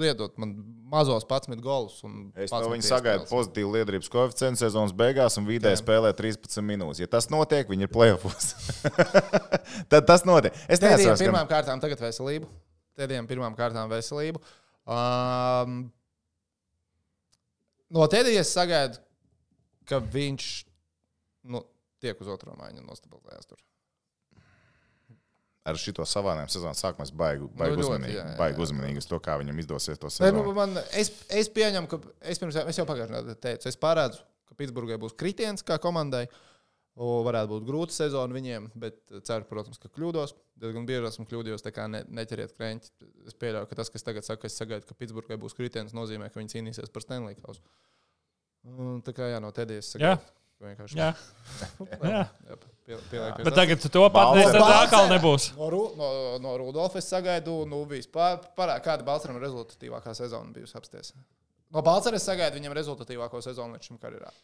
Liedot man mazos 11 golus. un Es 11 no viņiem sagaidu piespēles. pozitīvu liederības koeficientu sezonas beigās, un vidēji spēlē 13 minūtes. Ja tas notiek, viņi ir plēsoņos. Tad tas notiek. Es Tēdiem nesaprotu, pirmām ka kārtām tagad veselību. Tēdiem pirmām kārtām veselību. Um, no tēdiem es sagaidu, ka viņš nu, tiek uz otro maiņu nostabilizējies. Tur. ar šo savādājumu sezonas sākumā es baigi, baigi Nu, ļoti, uzmanīgi, jā, jā, baigi uzmanīgi uz to, kā viņam izdosies to Ne, nu, sasniegt. man, es, es pieņemu, ka es, pirms, es jau pagājušajā gadā teicu, es pārādzu, ka Pitsburgai būs kritiens kā komandai. O, Varētu būt grūta sezona viņiem, bet ceru, protams, ka kļūdos. Diezgan bieži esmu kļūdījies, tā kā ne, neķeriet krēķi. Es pieļauju, ka tas, kas tagad saka, es sagaidu, ka Pitsburgai būs kritiens, nozīmē, ka viņi cīnīsies par Stanley kausu. Un, Tā kā jā, no tēdijas Jā. vienkārši. Jā. Jā. Jā, pie- pieliek, Bet tagad tu to pateiks, tad Balcer. atkal nebūs. No, Ru, no, no Rudolfa es sagaidu, nu, vispār, parā, kāda Balčūska ir rezultatīvākā sezona bijusi apsties. No Balčūska es sagaidu viņam rezultatīvāko sezonu līdz šim karjerā.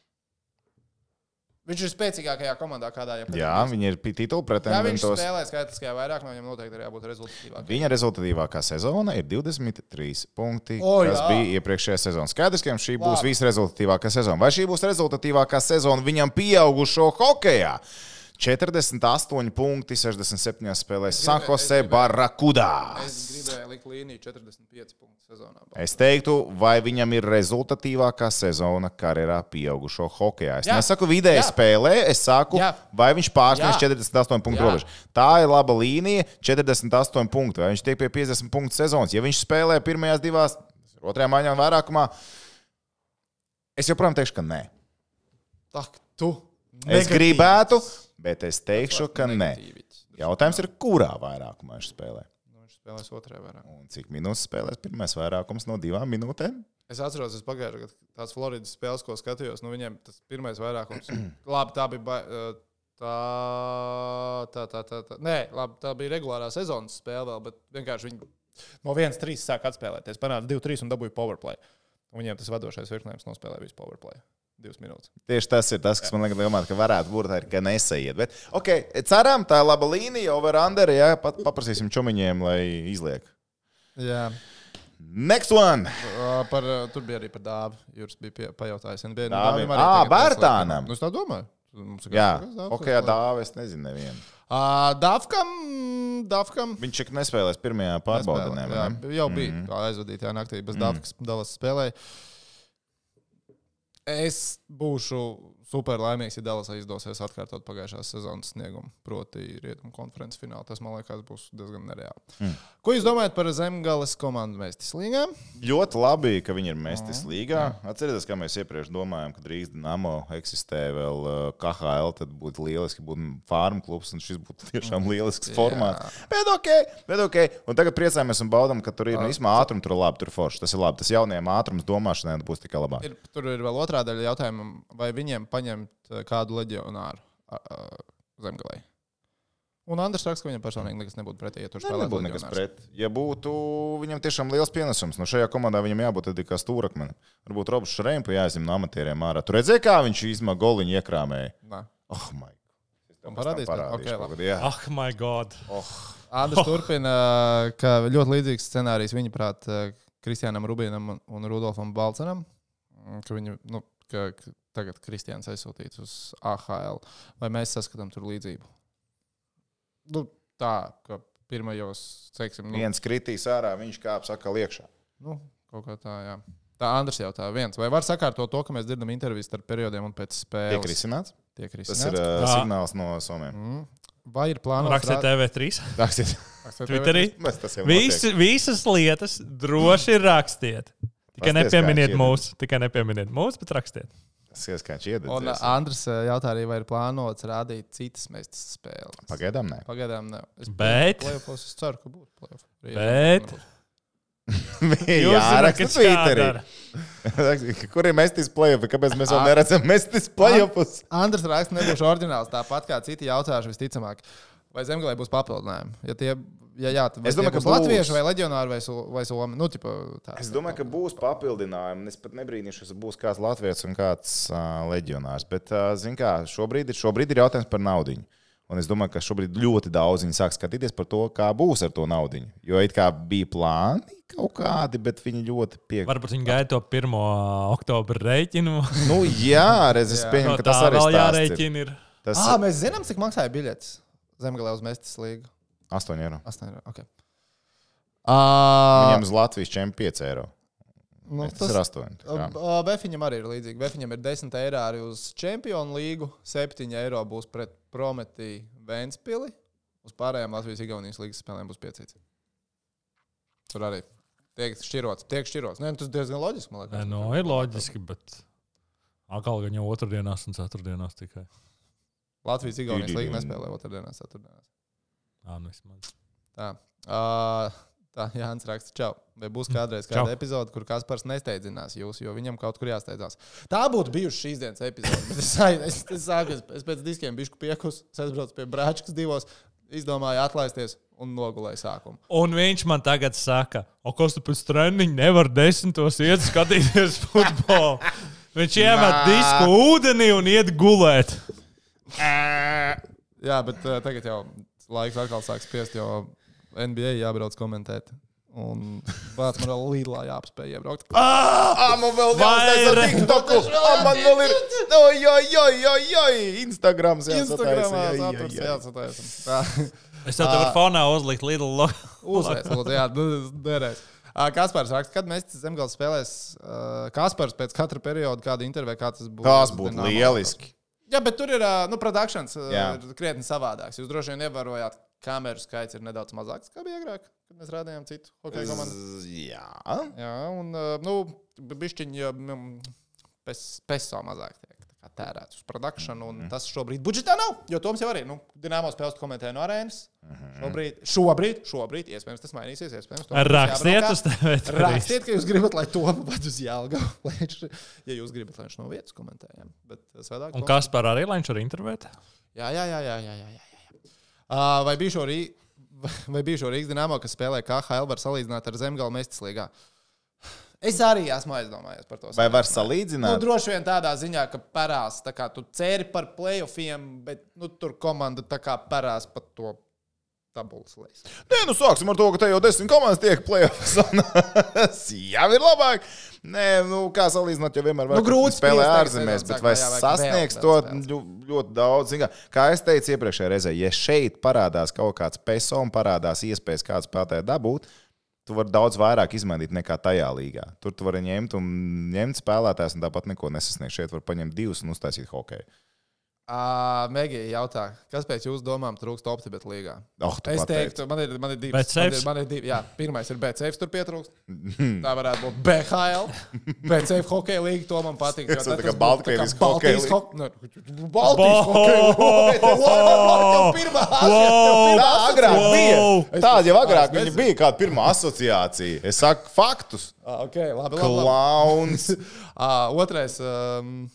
Viņš ir spēcīgākajā komandā, kādā jau Jā, viņi ir titulu jā, viņš pretendentos. spēlē skaitliskajā vairāk, no viņiem noteikti ir jābūt rezultatīvākajam. Viņa rezultatīvākā sezona ir 23 punkti, O, oh, kas jā. bija iepriekšējā sezonā. Skaidrs, ka šī būs Labi. visrezultatīvākā sezona. Vai šī būs rezultatīvākā sezona viņam pieaugušo hokeja? 48 punkti 67 spēlēs San Jose Barracudā. Es gribēju likt līniju 45 punktu sezonā. Es teiktu, vai viņam ir rezultatīvākā sezona karjerā pieaugušo hokeja. Es jā. Jā. nesaku vidēji Jā. spēlē, es saku, jā. Jā. vai viņš pārsniegs Jā. 48 punktu Jā. robežu. Tā ir laba līnija, 48 punkti. Vai viņš tiek pie 50 punktu sezonas? Ja viņš spēlē pirmajās divās, otrajā maiņā un vairākumā, es joprojām teikšu, ka nē. Tak, tu. Es gribētu, bet es teikšu, ka nē. Negatīviķis. Jautājums ir, kurā vairākumā viņš spēlē? Nu, Viņš spēlēs otrajā vairāk. Un cik minūtes spēlēs pirmais vairākums no divām minūtēm? Es atceros, es pagājušajā gadā tās Floridas spēles, ko skatījos. Nu, viņiem tas pirmais vairākums. labi, tā bija. Ba... eh, Tā, tā, tā, tā, tā. Nē, labi, tā bija regulārā sezonas spēle, vēl, bet vienkārši viņi no 1-3 sāka atspēlēties. Panāca 2-3 un dabūja powerplay. Un viņiem tas vadošais virknējums nospēlēja visu powerplay. Divas minūtes. Tieši tas ir tas, kas man liekas, domāt, ka varētu būt tā, ka nesaiet. Bet, ok, ceram, tā ir laba līnija, over under, jā, pat paprasīsim čomiņiem, lai izliek. Jā, Next one! par, eh, tur bija arī par dāvu. Jūras bija pie, pajautājis NBA. Nu, Dāvim. Dāvim arī Ā, tagad mēs Bērtānam. liekam. Nu, es tā domāju. Mums ir Jā, kaut kas dāvs, ok, jā, kas dāvā, es nezinu nevienu. Ā, Dafkam, Dafkam. Viņš čak nespēlēs pirmajā pārbaudē. Jā, jau bija Mhm. mm -hmm. aizvadīta naktī, bez mm. Dafkas dalas spēlē. Es būšu super laimīgs, ja Dallas izdosies atkārtot pagājušās sezonas sniegumu, proti, rietumu konferences finālu. Tas, man liekas, būs diezgan nereāli. Mm. Ko jūs domājat par zemgales komandu Mēstislīgām? Ļoti labi, ka viņi ir mestis līgā. Atcerieties, kā mēs iepriekš domājām, ka drīz Dienāmo eksistēja vēl uh, KHL, tad būtu lieliski, būtu farmu klubs, un šis būtu tiešām lielisks formāts. Bet ok, bet ok. Un tagad priecājamies un baudām, ka tur ir nu, vismaz ātrums, tur ir labi, tur ir forši. Tas ir labi, tas jaunajam ātrums domāšanai būs tikai labāk. Ir, tur ir vēl otrā daļa jautājuma, vai viņiem paņemt eh, kādu leģionāru a- a, zemgalē. Un Andris raksta, ka viņam personīgi nekas nebūtu pretī, ja tur Tā spēlētu nebūtu nekas leģionārs. pret. Ja būtu viņam tiešām liels pienesums, no šajā komandā viņam jābūt tad kā stūrakmenim. Varbūt Robs Šrēmpa jāizņem no amatieriem ārā. Tur redzēja, kā viņš izma goliņu iekrāmēja. Nē. Oh, my! Un parādīs, ka- ok, labi. okay, jā. Ah, my God! Andris Oh. turpina, ka ļoti līdzīgs scenārijs viņa prāt eh, Kristianam Rubīnam un- un Rudolfam Balcenam. Mm, Ka viņu, nu, ka ka tagad Kristians aizsūtīts uz AHL. Vai mēs saskatām tur līdzību? Nu, tā, ka pirmajos, teiksim, nu, Viens kritīs ārā, viņš kāps atkal iekšā. nu, kaut kā tā, jā. Tā Andris jautā, viens. Vai var sakārtot to, ka mēs dzirdam intervijas starp periodiem un pēc Tiek spēles? risināts. Tiek Tas ir risināts. uh, Tā. signāls no somiem. Mm. Vai ir plānots Rakstiet TV3, Mm. Rakstiet, rakstīt Twitterī. mēs tas jau Visi, visas lietas droši rakstiet. Tikai Pasties, kā nepieminiet viņš mūs, tikai nepieminiet mūs, bet rakstiet. Skaties, kā viņš Un iedod. Andris eh, jautā arī, vai ir plānots rādīt citas meistas spēles. Pagaidām, nē. Pagaidām, ne. Es Bet- Playoffs, es ceru, ka būs playoffs. Bet- Jā, rakstiet Twitterī. dara. Rakstiet, Kur ir mestis playoffs? Kāpēc mēs vēl neredzam mestis playoffs? Andris raksts nebūs oriģināls, tāpat kā citi jautājuši visticamāk. Vai zemgālē būs papildinājumi? Ja tie, ja jā, tad Es vai tie domāju, ka būs būs. latvieši vai leģionāri vai, so, vai somi. Nu, tipa, tā, Es domāju, ka būs papildinājumi. Es pat nebrīnīšos, ja būs kāds Latvijas un kāds uh, leģionārs. Bet, uh, zināmā mērā, šobrīd, ir- šobrīd ir jautājums par naudu. Un es domāju, ka šobrīd ļoti daudz viņi sāk skatīties par to, kā būs ar to naudu. Jo it kā bija plāni kaut kādi, bet viņi ļoti piekāpja. Varbūt viņi gaida to 1. oktobra rēķinu. Nu, jā, redz, es pieņemu, No ka tā tas arī vēl stāsts ir. jārēķina. ir. Tas Ah, ir mēs zinām, cik maksāja biļetes zemgālē uz mestas līgu. 8 eiro. 8 eiro. Okay. Viņam Uh, uz Latvijas čempionu 5 eiro. nu, Tas ir 8. tā kā. Befiņam arī ir līdzīgi. Befiņam ir 10 eiro arī uz Čempionu līgu, 7 eiro būs pret Prometiju Vēnspili. Uz pārējām Latvijas-Igaunijas līgas spēlēm būs 5. Tur arī tiek šķirots. Tiek šķirots. Nē, nu, tas diezgan loģiski, man Nē, liekas. Nu, ir loģiski, bet. Akal gan jau otrdienās un ceturtdienās tikai. Latvijas-Igaunijas līga nespēlē otrdienās, ceturtdienās. Ā, nu vismaz. Tā, uh, tā Jānis raksta, čau. Vai būs kādreiz Čau. kāda epizode, kur Kaspars nesteidzinās jūs, jo viņam kaut kur jāsteidzās? Tā būtu bijusi šīs dienas epizode. bet Es, ai- es, es sāku, es, es pēc diskiem biju piekus, es aizbraucu pie brāčkas divos, izdomāju atlaisties un nogulēju sākumu. Un viņš man tagad saka, o, kas tu pēc treniņa nevar desmitos iet skatīties futbolu. Viņš iemet disku ūdenī un iet gulēt. Jā, bet uh, tagad jau laiks atkal sāks piest, jo NBA jābrauc komentēt. Un Bācis man vēl līdlā jāapspēj iebraukt. Ah, man vēl Vairāk. ir TikToku. Ah, man vēl ir. Oi, oi, oi, oi, oi. Instagrams Instagramā jāsataisa. Oi, oi, jāatveras, oi. jāatveras. Tā. Es tev te varu fonā uzlikt Lidlu logo. Uzreiz, lūdzu, jā, derēs. Kaspars raksta, kad mēs zemgālē spēlēs. ā, Kaspars pēc katra perioda kādu interviju, kā tas būs. Tas būtu Dinamo. lieliski. Jā, bet tur ir, ā, nu, produkcijas Jā. ir krietni savādāks. Jūs droši vien ievērojāt, kameru skaits ir nedaudz mazāks, kā bija agrāk, kad mēs rādījām citu hokeju komandu. Jā. Jā, un, ā, nu, bišķiņi pēc pesā mazāk tiek. Tā kā kā tērēts uz produkciju, un tas šobrīd budžetā nav. Jo Toms jau arī, nu, Dienāmo spēles komentē no arēnas. Šobrīd, šobrīd, šobrīd, iespējams, tas mainīsies. Iespējams, Tomam būs Rakstiet jābraukā. uz tevi. Rakstiet, ka jūs gribat, lai to pavadu uz Jālgavu. lai viņš- Ja jūs gribat, lai viņš no vietas komentējam. Bet svētāk. Un Toms- kas par arī Lenču ar intervētu? Jā, jā, jā, jā, jā, jā, jā, jā. Uh, vai bija šo Rīgas, vai bija šo Rīgas dīnāmo, kas spēlē KHL, var salīdzināt ar Zemgala mestas līgā? Es arī esmu aizdomājies par to. Vai var Nu, salīdzināt? droši vien tādā ziņā, ka parās, tā kā tu ceri par playoffiem, bet nu, tur komanda tā kā parās par to tabulas lejas. Nē, nu sāksim ar to, ka te jau desmit komandas tiek plēsoņas. jau ir labāk. Nē, nu kā salīdzināt, jau vienmēr var Nu, grūti spēlēt spriest tagad ārzemēs, sezonas bet sākumā, vai jā, vajag sasniegs vēl to spēles. ļu- ļoti daudz? Zin Kā, kā es teicu iepriekšējā reizē, ja šeit parādās kaut kāds peso un parādās iespējas kādu spēlētāju dabūt. Tu vari daudz vairāk izmainīt nekā tajā līgā. Tur tu vari ņemt un ņemt spēlētājs, un tāpat neko nesasniegt. Šeit var paņemt divus un uztaisīt hokeju. Uh, Megija jautā, kas pēc jūsu domām trūkst optibet līgā? Oh, tu Es pateici. teiktu, man ir, man ir divi. Bet safes? Man ir divi. Jā, pirmais ir BCF, tur pietrūkst. Tā varētu būt BHL. BCF hokeja līnija, to man patīk. Es esmu tā kā Baltkrievijas hokeja līga. līnija. Baltijas hokeja līnija. Pirmā Tā asociācija. agrāk bija. Es- Tāda jau agrāk es viņa nezinu. bija. Kāda pirmā asociācija? Es saku faktus. Ah, Ok, labi. labi, labi. Klauns. Ah, Otrais. um,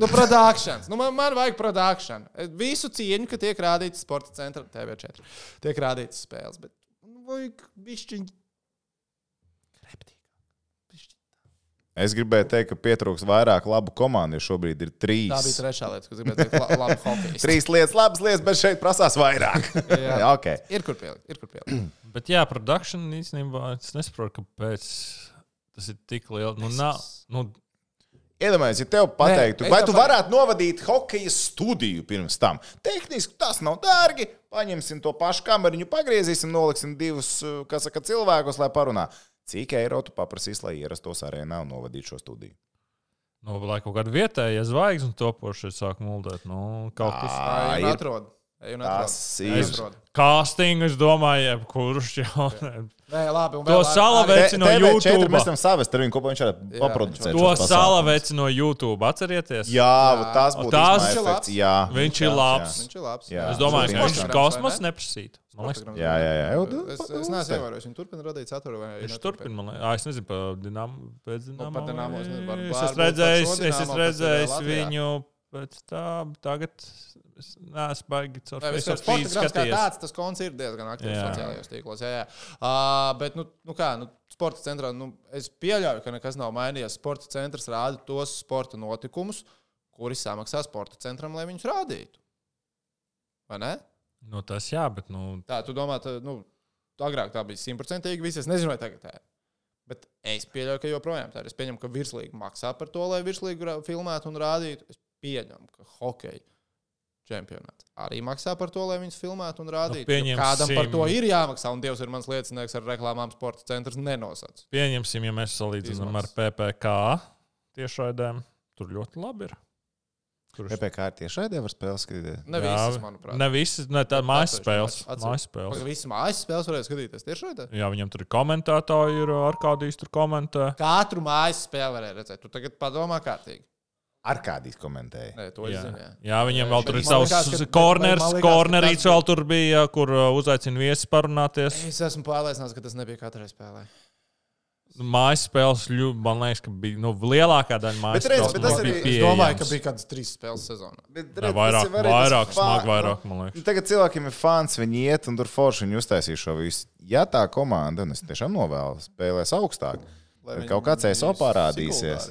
Nu, produkcijas. Nu, man, man vajag produkciju. Visu cieņu, ka tiek rādīts sporta centra TV4. Tiek rādīts spēles, bet nu, vajag bišķiņu. Es gribēju teikt, ka pietrūks vairāk labu komandu, jo šobrīd ir Tā bija trīs. trešā lieta, ko gribēju teikt. la- Labi, hokejisti. Trīs lietas, labas lietas, bet šeit prasās vairāk. Jā. okay. Ir kur pielikt, ir kur pielikt. Bet jā, produkcija īstenībā es nesaprotu, kāpēc tas ir tik liels. Nu, nav, nu, Iedomājieties, ja tev pateiktu, Nē, es tev Nē, vai tu pateiktu. varētu novadīt hokeja studiju pirms tam. Tehniski tas nav dārgi. Paņemsim to pašu kameriņu, pagriezīsim, noliksim divus uh, kā saka, cilvēkus, lai parunā. Cik eiro tu paprasīs, lai ierastos arēnā un novadītu šo studiju? nu, lai kaut kāda vietējais zvaigznes un topošais sāk muldēt. Nu, kaut kas Ā, Ai, ir. atrod. Ej un atrod. Tas Ej un ir. atrod. Casting, es domāju, jebkurš jaunais. Nē, labi. un To vēl ar- salavē- arī- Te- Veci no TV4 YouTube-a. Mēs tam savest ar viņu kopā viņš arī Jā, paproducē. To šos pasākumus. salaveci no YouTube, atcerieties? Jā, tas būtu tas tās- Viņš ir labs. efekts. Jā. Viņš ir labs. Viņš ir labs. Jā. Es domāju, ka Sporta viņš programmas, kosmosu vai neprasītu. Man liekas, Programmas. Jā, jā, jā. Jau, tu- Es, es neesmu ievērojis. Viņi turpina radīt saturu. vai Viņš neturpina? turpina, man liekas, Ā, es nezinu par dinamu. Pēc Nu, dinamu. par Dinamo es nezinu, var- es varbūt esmu redzējis, par šo es esmu Dinamo, kas ir redzējis Latvijā. viņu pēc tam. Tagad es neesmu baigi caur Nē, vispār Facebook sporta feed grāmatas kā skaties. tāds, tas konts ir diezgan aktīvs Jā. sociālajos tīklos. Jā, jā. Uh, bet, nu, nu kā, nu, sporta centrā, nu, es pieļauju, ka nekas nav mainījies. Sporta centrs rāda tos sporta notikumus, kuri samaksā sporta centram, lai viņus rādītu. Vai ne? Nu, tas jā, bet nu, Tā, tu domā, tā, nu, tā agrāk tā bija simtprocentīgi, viss. Es nezinu, vai tagad tā ir. Bet es pieļauju, ka joprojām tā ir. Es pieņemu, ka virslīga maksā par to, lai virslīgu ra- filmētu un rādītu. Es pieņemu, ka hokeja čempionāts arī maksā par to, lai viņas filmētu un rādītu. Nu, pieņemsim. Kādam par to ir jāmaksā, un Dievs ir mans liecinieks ar reklāmām sporta centrs nenosacījis. pieņemsim, ja mēs salīdzinām ar Izmaksas. PPC tiešraidēm. Tur ļoti labi ir. Kurš- PPC ir tieši šeit, var spēlēt, skatīties. Ne Jā, visas, manuprāt. Ne visas, ne tā mājas spēles. Atsevišķi. Mājas spēles. Paga, Visas mājas spēles varēja skatīties tieši šeit. Jā, viņam tur ir komentētāji, ir ar kādīs tur komentē. Katru mājas spēli varēja redzēt. Tu tagad padomā kārtīgi. Ar kādīs komentēja. Nē, to es Jā, zinu. jā. jā viņiem vēl tur ir Man savs liekas, ka- korners, man liekas, ka kornerīts tas bija- vēl tur bija, kur uh, uzaicina viesus parunāties. Es esmu pārliecināts, ka tas nebija katrai spēlē. Mājas spēles, ļu- man liekas, ka bija nu, lielākā daļa mājas Bet reiz, spēles. bet mums tas arī- bija Es Es domāju, ka pieejamas. bija kādas trīs spēles sezonā. Bet, Nē, vairāk, vairāk, smag vairāk, man liekas. Nu, Tagad cilvēkiem ir fans, viņi iet un tur forši viņi uztaisīja šo visu. Ja tā komanda, un es tiešām novēlu, spēlēs augstāk, tad kaut kāds ESO parādīsies.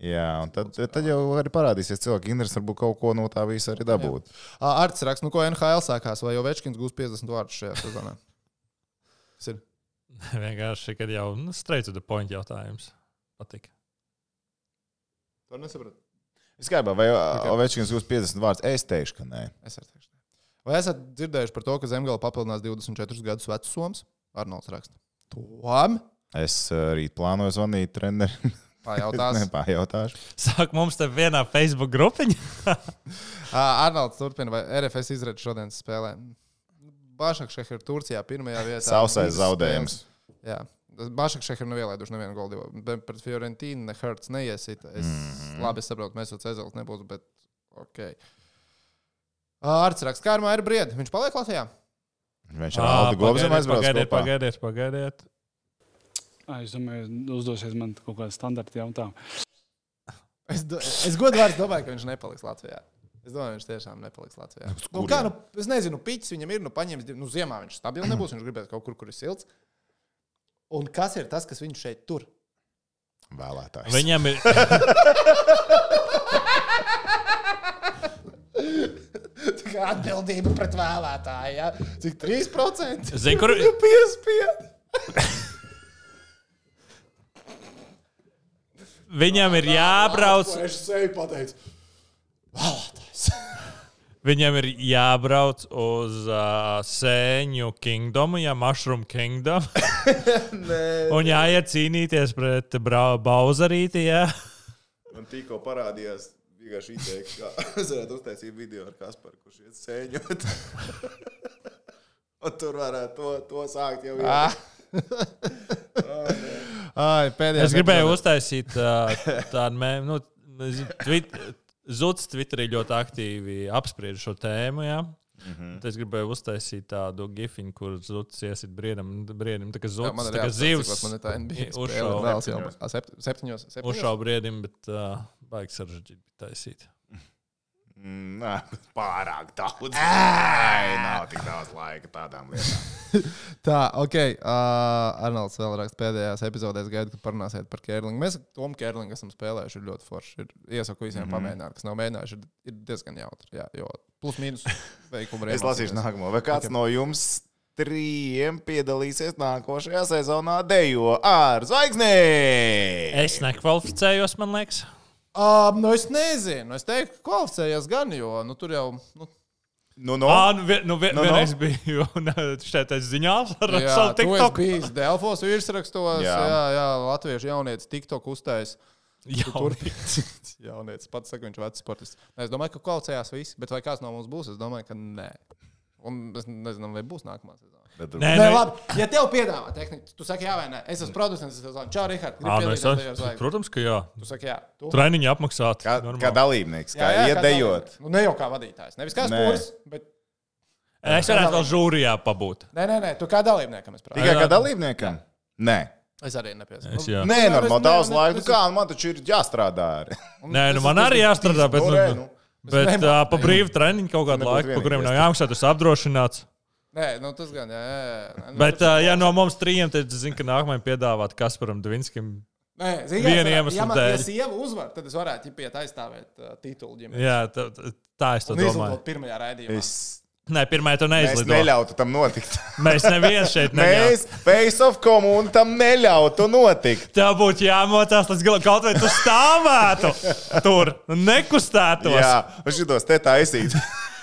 Jā, un tad, tad jau arī parādīsies cilvēki, interesi varbūt kaut ko no tā visa arī dabūt. Arts raksts, nu ko NHL sākās, vai jau Večkins gūs 50 vārdus šajā sezonā? Tas ir. Vienkārši, kad jau nu, straight to the point jautājums. Patika. To nesapratu. Es gribēju, vai Ovečkins būs 50 vārds. Es teikšu, ka nē. Es arī teikšu. nē. Vai esat dzirdējuši par to, ka Zemgala papildinās 24 gadus vecs soms? Arnolds raksta. Tom? Es ā, rīt plānoju zvanīt trenerim. Pajautās. Nepajautāšu. Sāk mums te vienā Facebook grupiņā. Ā, Arnolds turpina, vai RFS izredz šodienas spēlē. Bāžāk šeit ir Turcijā pirmajā vietā. Sausais Divas zaudējums. spēles. Jā, Mašak šeit nav nu, ielaiduši nevienu goldu. bet Pret Fiorentīnu ne Hertz neiesita. Es Mhm. mm. labi es saprotu, mēs jau Cēzels nebūs, bet ok. Arts raksts, kā ar Maiju Briedu. Viņš paliek Latvijā? Viņš ar Aldu Globzem aizbrauc Pagaidiet, kopā. pagaidiet, pagaidiet. Ai, Ah, Es domāju, uzdosies man kaut kāda standarta jautājuma. Es, do, es godīgi domāju, ka viņš nepaliks Latvijā. Es domāju, viņš tiešām nepaliks Latvijā. Nu, kā, nu, es nezinu, pīķis viņam ir, nu, paņems, div- nu, ziemā viņš stabils nebūs, viņš gribēs kaut kur, kur ir silts. Un kas ir tas, kas viņu šeit tur? Vēlētājs. Viņam ir. Tā kā atbildība pret vēlētāju, ja? Cik Nu, 3%? Zini, kur, Piespied! viņam ir jābrauc. Es seju pateicu, vēlētājs. Viņam ir jābrauc uz uh, Sēņu Kingdomu, ja Mushroom Kingdom. un jāiet cīnīties pret brau- Bauzerīti. Jā. Man tikko parādījās vienkārši ideja, kā es varētu uztaisīt video ar Kasparu, kurš iet sēņot. Un tur varētu to, to sākt jau. Ah. Ai, pēdējais. Es gribēju uztaisīt uh, tādu mēmu. Nu, twit, Zuds Twitterī ļoti aktīvi apspriež šo tēmu. Jā. Mm Mhm. -hmm. Es gribēju uztaisīt tādu gifiņu, kur zudis iesit brīvam, brīvam, tā kā Jā, zudis. man ir Tā kā jāatzīst, cik man ir tā zivs NBA spēle. uzšauba. Vēl jau Ā, sept- septiņos. septiņos? Uzšāva brīdim, bet uh, baigs sarežģīti bija taisīt. Nē, pārāk daudz. Ai, nav tik daudz laika tādām lietām. Tā, ok. Uh, Arnolds vēl raksta pēdējās epizodēs, gaidu, ka parunāsiet par Kērlingu. Mēs ar Tomu Kērlingu esam spēlējuši, ir ļoti forši. Ir iesaku visiem mm -hmm. pamēģināt, kas nav mēģinājuši. Ir, ir diezgan jautri. Jā, jo plus mīnus veikumu Es lasīšu nākamo. Vai kāds no jums trījiem piedalīsies nākošajā sezonā dejo ar zvaigznēm? Es nekvalificējos, man liekas. Uh, nu es nezinu, es teiktu, ka kvalificējos gan, jo nu, tur jau. Nu, Nu, no. Ah, nu, vien, nu, vien, Nu, nu. nu, vienreiz bija šeit tāds ziņās ar savu jā, tu esi TikTok. bijis Delfos virsrakstos, jā. Jā. Jā, jā, latviešu jaunietis TikTok uztais. Jā, Tur jaunietis pats saka, viņš ir vecs sportists. Nē, Es domāju, ka kvalificējās visi, bet vai kāds no mums būs? Es domāju, ka nē. Un es nezinu, vai būs nākamā sezona. nē, nu- Nē, nē. labi. Ja tev piedāvā tehniku, tu saki, jā, vai nē, es esmu producents, es esmu zvanījis. Čau, Rihards, Ā, nu, gribu es, piedalīties tā- tajā zvaigznē. protams, ka jā. Tu saki, jā, tu. Treniņu apmaksāt. Kā, normāli. kā dalībnieks, kā iedējot. Nu, ne jau kā vadītājs, nevis kā Nē. spūris, bet Es varētu vēl žūrijā pabūt. nē, nē, nē, tu kā dalībniekam es prātu. Tikai kā dalībniekam? Nē. Es arī nepiesaku. Es, jā. Nē, es normāli ne- daudz ne- laika. Nu es- Kā nu man taču ir jāstrādā arī. Nē, nu man arī jāstrādā, bet, Nu, re, nu, nu. bet nemāku, nu, uh, pa brīvu treniņu kaut kādu Nebūs laiku, pa vienīgais. kuriem nav jāmaksā, tas apdrošināts. Nē, nu tas gan, jā, jā. jā. Nē, nu, Bet, uh, ja no mums trījiem, tad zinu, ka nākamajam piedāvāt Kasparam Dvinskim. Nē, zini, Viena ja man- iemesla ja man- dēļ. Ja sieva uzvar, tad es varētu iet aizstāvēt uh, titulu ģimeni. Jā, tā, tā- tā es to Un izlūkot domāju. pirmajā raidījumā. Es, Nē, pirmā to es neizlidoju. neļautu tam notikt. Mēs neviens šeit neļaujam. Mēs, Face of Commune, tam neļautu notikt. Tev būtu jāmocās līdz galam, kaut vai tu stāvētu tur, nu, nekustētos. Jā, uz šitos te taisīt.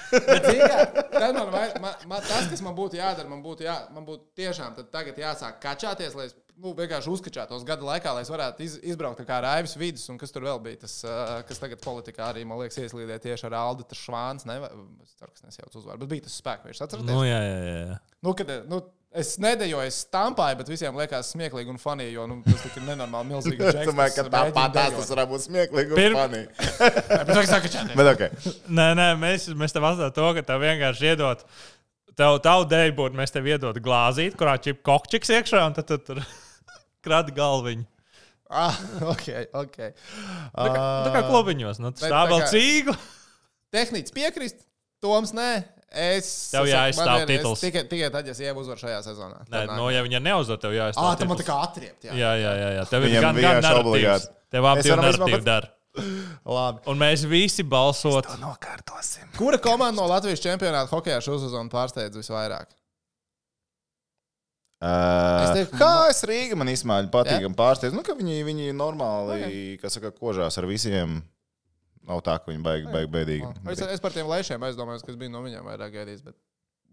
Bet, zini, kā, tad man vai- man- man- Tas, kas man būtu jādara, man būtu, jā, man būtu tiešām tad tagad jāsāk kačāties, lai es nu, vienkārši uzkačātos gada laikā, lai es varētu iz, izbraukt tā kā raivs vidus, un kas tur vēl bija, tas, ā, kas tagad politikā arī, man liekas, ieslīdēja tieši ar Aldu Švāns. Ne, vai- es ceru, ka es nesajaucu uzvaru, bet bija tas spēkvērš. Atcerieties, Nu, jā, jā, jā. Nu, kad, nu, es nedēļu, es stampāju, bet visiem liekas smieklīgi un funīgi, jo nu, tas tik ir nenormāli milzīgi. Es domāju, ka tāpat tās tas varētu būt smieklīgi. Pirm- Pirm... Bet, ir. okay. Nē, nē, mēs, mēs tev atstājam to, ka tev vienkārši iedod. Tev tavu dēļ būtu, mēs tev iedod glāzīt, kurā čip kokčiks iekšā, un tad tu tur krāta galviņu. Ah, ok, ok. Tā kā, tā Ah. kā klobiņos, nu, Bet stāv tā vēl kā- cīgu. Tehnicis piekrist, Toms nē. Es Tev es- jāizstāv man ir- es tituls. Tikai, tikai tad, ja es ievu uzvaru šajā sezonā. Nē, no, ja viņa neuzdod, tev jāizstāv. ah, tā man tā tituls. kā atriept. Jā. Jā, jā, jā, jā. Tev ir Viņam gan, vienkārši gan narratīvs. obligāti. Tev Mēs abi ir varam narratīvi izmantot- dara. Labi. Un mēs visi balsot. Nokārtosim. Kura komanda no Latvijas čempionāta hokeja šo sezonu pārsteidz visvairāk? Uh, Es teiktu, kā es Rīga man īstenībā patīkami pārsteidz. Nu, ka viņi, viņi normāli, kā saka, kožās ar visiem. Nav tā, ka viņi baigi, baigi bēdīgi. Nu, Es, es par tiem lēšiem aizdomājos, kas bija no viņiem vairāk gaidījis, bet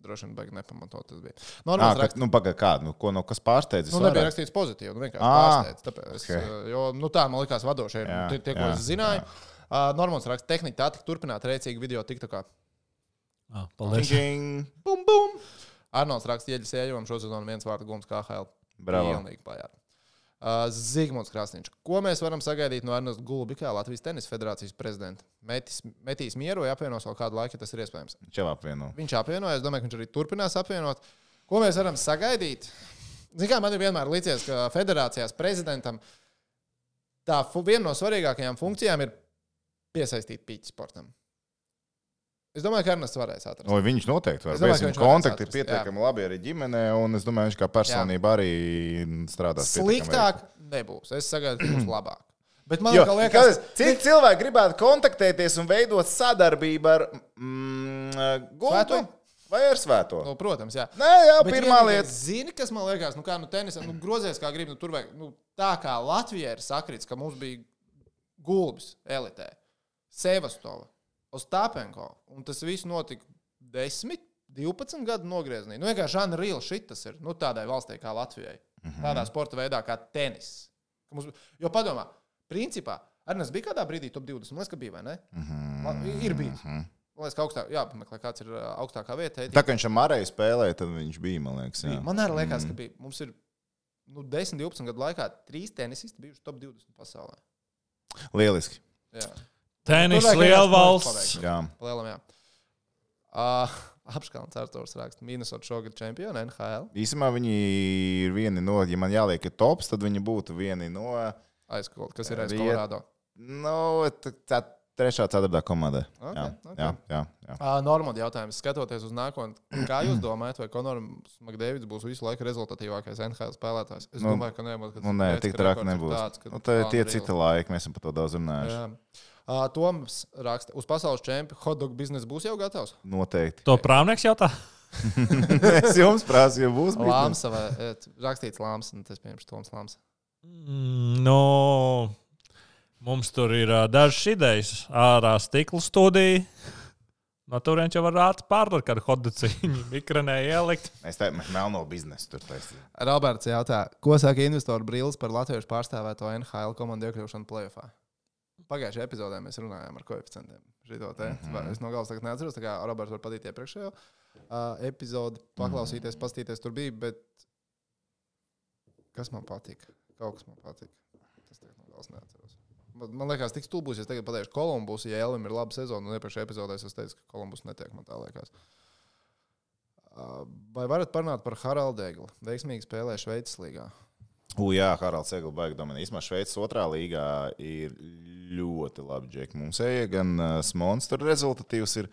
droši vien baigi nepamatot tas bija. Nā, Normāls ka, raksts. nu, pagaid, kā, nu, ko, nu, kas pārsteidz? Nu, nebija rakstīts pozitīvi, nu vienkārši Ā, pārsteidz. Tāpēc, ok. okay. jo, nu, tā man likās vadošie, ir, Jā, nu, tie, tie, ko jā, jā, es zināju. Uh, Normāls raksts, tehnika tā, tik turpināt rēcīgi video TikTokā. Ah, Paldies. Džing. Bum, bum! Arnolds raksts, ieģis ejam šo sezonu viens vārdu gums KHL. Bravo. Pilnīgi bajāri. Uh, Zigmunds Krasniņš. Ko mēs varam sagaidīt no Ernesta Gulbika, Latvijas Tenisa Federācijas prezidenta? Metīs, metīs mieru vai apvienos vēl kādu laiku, ja tas ir iespējams. Čau apvieno. Viņš apvienojas, domāju, ka viņš arī turpinās apvienot. Ko mēs varam sagaidīt? Zinām, man ir vienmēr līdzies, ka federācijās prezidentam tā fu- viena no svarīgākajām funkcijām ir piesaistīt pīķi sportam. Es domāju, ka Ernsts varēs atrast. O, Nu, viņš noteikti var. Es domāju, ka Domāju, viņš viņam varēs kontakti ir atrast, jā. pietiekami jā. labi arī ģimenē, un es domāju, viņš kā personība arī strādās. pietiekami Sliktāk nebūs. Es sagaidu, ka būs labāk. Bet man Jo, jo, liekas, kāpēc? cik cilvēki gribētu kontaktēties un veidot sadarbību ar mm, Svēto? Gultu vai ar Svēto? no, nu, protams, jā. Nē, jau Bet pirmā vienīgais, lieta. Zini, kas man liekas, nu, kā nu, tenisā, nu, grozies kā gribi, nu, tur vajag, nu, tā kā Latvijai ir sakrits, ka mums bija gulbis elitē, Sevastova, Ostapenko, un tas viss notika 10, 12 gadu nogriezienī. Nu, vienkārši Žana Rīla šitas ir, nu, tādai valstī kā Latvijai, tādā sporta veidā kā tenis. Ka Mums, jo padomā, principā, Ernsts bija kādā brīdī top 20, man liekas, ka bija, vai ne? Man- Ir bijis. Man liekas, ka augstāk, jāpameklē, kāds ir ā, augstākā vieta. Ētī. Mhm. Tā kā viņš ar Marēju spēlēja, tad viņš bija, man liekas. Jā. Mm. Bija. Man arī liekas, ka bija. Mums ir nu, 10, 12 gadu laikā trīs tenisisti bijuši top 20 pasaulē. Mhm. Lieliski. Jā, Tenis Tur vajag liela vienkārši valsts. Jā. palielam, jā. Uh, Apskauns ar to rakstu. Minnesota šogad čempionu NHL Īsumā viņi ir vieni no, ja man jāliek, ir tops, tad viņi būtu vieni no, aizkola, kas ir aiz Riet- Colorado. no tā, tā trešā, ceturtā komandā. Ok, jā, ok. jā, jā, jā. Uh, Normāli jautājums. Skatoties uz nākotni, kā jūs domājat, vai Konors Makdēvids būs visu laiku rezultatīvākais NHL spēlētājs? Es Nu, domāju, ka nebūs. Nu, nē, tik traki nebūs. Nu, tā ir tie citi laiki, mēs esam par to daudz runājuši. laiki. Toms raksta, uz pasaules čempionu hotdog biznesa būs jau gatavs? Noteikti. To prāmnieks jautā? es jums prasu, ja būs. biznes. Lāms vai et, rakstīts Lāms, un tas pieņemts Toms Lāms. Mm, No, mums tur ir ā, dažas idejas. Ārā stikla studija. No turienes jau var ātri pārdot kādu hodiciņu, mikronē ielikt. Es teiktu, mēs melno biznesu tur taisām. Roberts jautā, ko saka investoru brīlis par latviešu pārstāvēto NHL komandu iekļūšanu plēsoņā? Pagājušajā epizodē mēs runājām ar koeficientiem. Šito te mm -hmm. es no galvas tagad neatceros, tā kā Roberts var padīt iepriekšējo uh, epizodi, paklausīties, paskatīties, tur bija. Bet kas man patika? Kaut kas man patika. Tas tagad no galvas neatceros. Man- Man liekas, tik stulbs, ja es tagad pateikšu, ka Kolumbus, ja Elim ir laba sezona, un iepriekšējā epizodē es teicu, ka Kolumbus netiek, man tā liekas. Uh, Vai varat parunāt par Haraldu Egli? Veiksmīgi spēlēja Šveices līgā. U, jā, Haralds Eglis, baigi dominē. Īsumā Šveices otrā līgā ir ļoti labi. Džek. Mums eja gan uh, Smons, tur rezultatīvs ir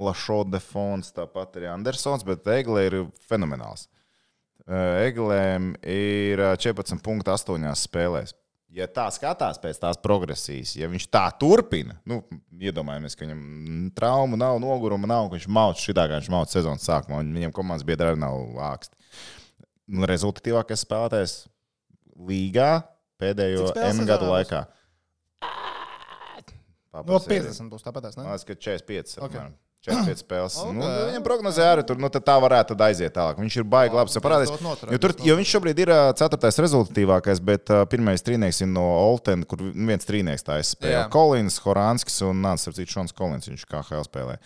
Lašo de Fons, tāpat arī Andersons, bet Egle ir fenomenāls. Uh, Eglēm ir uh, 14,8 spēlēs. Ja tā skatās pēc tās progresijas, ja viņš tā turpina, nu, iedomājamies, ka viņam mm, traumu nav, noguruma nav, ka viņš mauc šitā, kā viņš mauc sezonas sākumā, un viņam komandas biedri arī nav āksti. Nu, Rezultatīvākais spēlētājs līgā pēdējo Cik spēles M sezonā gadu būs? laikā. No 50 būs tāpat. es, Ne? Man liekas, ka 45. Ok. apmēram. 45 spēles. Ok. Okay. Nu, viņam prognozē arī tur, nu, tad tā varētu tad aiziet tālāk. Viņš ir baigi labi saprātis. Dot nu, noturēt, Jo, tur, dot jo viņš šobrīd ir ā, ceturtais rezultatīvākais, bet uh, pirmais trīnieks ir no Oltena, kur vi- nu, viens trīnieks tā spēlē. Jā. Kolins, Horanskis un Nācis Falks, Šons Kolins, viņš kā HL spēlē.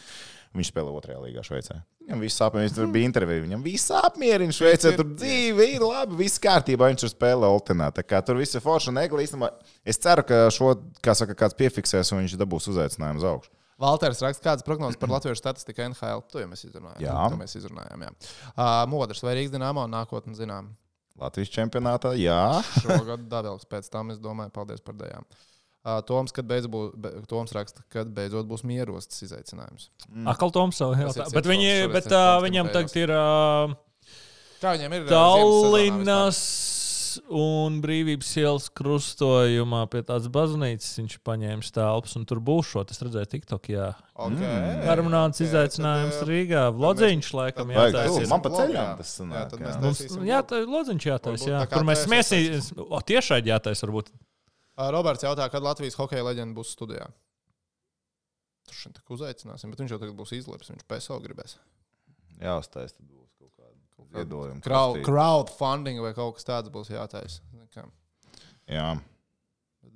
Viņš spēlē otrajā līgā Šveicē. Viņam viss apmierina, tur bija intervija. Viņam viss apmierina Šveicē, tur dzīve ir labi, viss kārtībā. Viņš tur spēlē Oltenā. Tā kā tur viss ir forši un egli. īstenībā. Es ceru, ka šo, kā saka, kāds piefiksēs un viņš dabūs uzaicinājumu uz augšu. Valters raksta, kādas prognozes par latviešu statistiku NHL. To jau mēs izrunājām. Jā. To mēs izrunājām jā. Uh, Modrs vai Rīgas dīnāmā nākotnē zinām. Latvijas čempionātā, jā. Šogad Davilks pēc tam, es domāju, paldies par dēļām. Uh, Toms, kad beidz būs, be, Toms raksta, kad beidzot būs mierostas izaicinājums. Akal Toms jau Tas ir jautā. Bet, Simpsons, viņi, šoreiz bet uh, Simpsons viņam beigās. tagad ir uh, Kā viņiem ir? uh, ziemas sezonā vispār? Tallinas un Brīvības ielas krustojumā pie tādas baznīcas. Viņš paņēma stāvus un tur būs šo. Es redzēju, TikTok, jā. Okay. Harmonāts ok, izaicinājums tad, uh, Rīgā. Lodziņš laikam vajag jātaisa. tuvu. Man pa blogā. ceļām tas sanāk, Jā, tad jā. mēs Mums, taisīsim Nu, jā, blogu. tā ir lodziņš jātais. Varbūt Jā. tā kā Tur mēs trešais smēsīsimies. Tiešai jātais varbūt. Ā, Roberts jautā, kad Latvijas hokeja leģenda būs studijā. Tur šodien tā kā uzaicināsim, bet viņš jau tagad būs izlips. Viņš pēc savu gribēs. Jā, uztaisīt, tad būs kaut kāda ziedojuma. Crowd, kustība. crowdfunding vai kaut kas tāds būs jātaisa. Zini kā. Jā,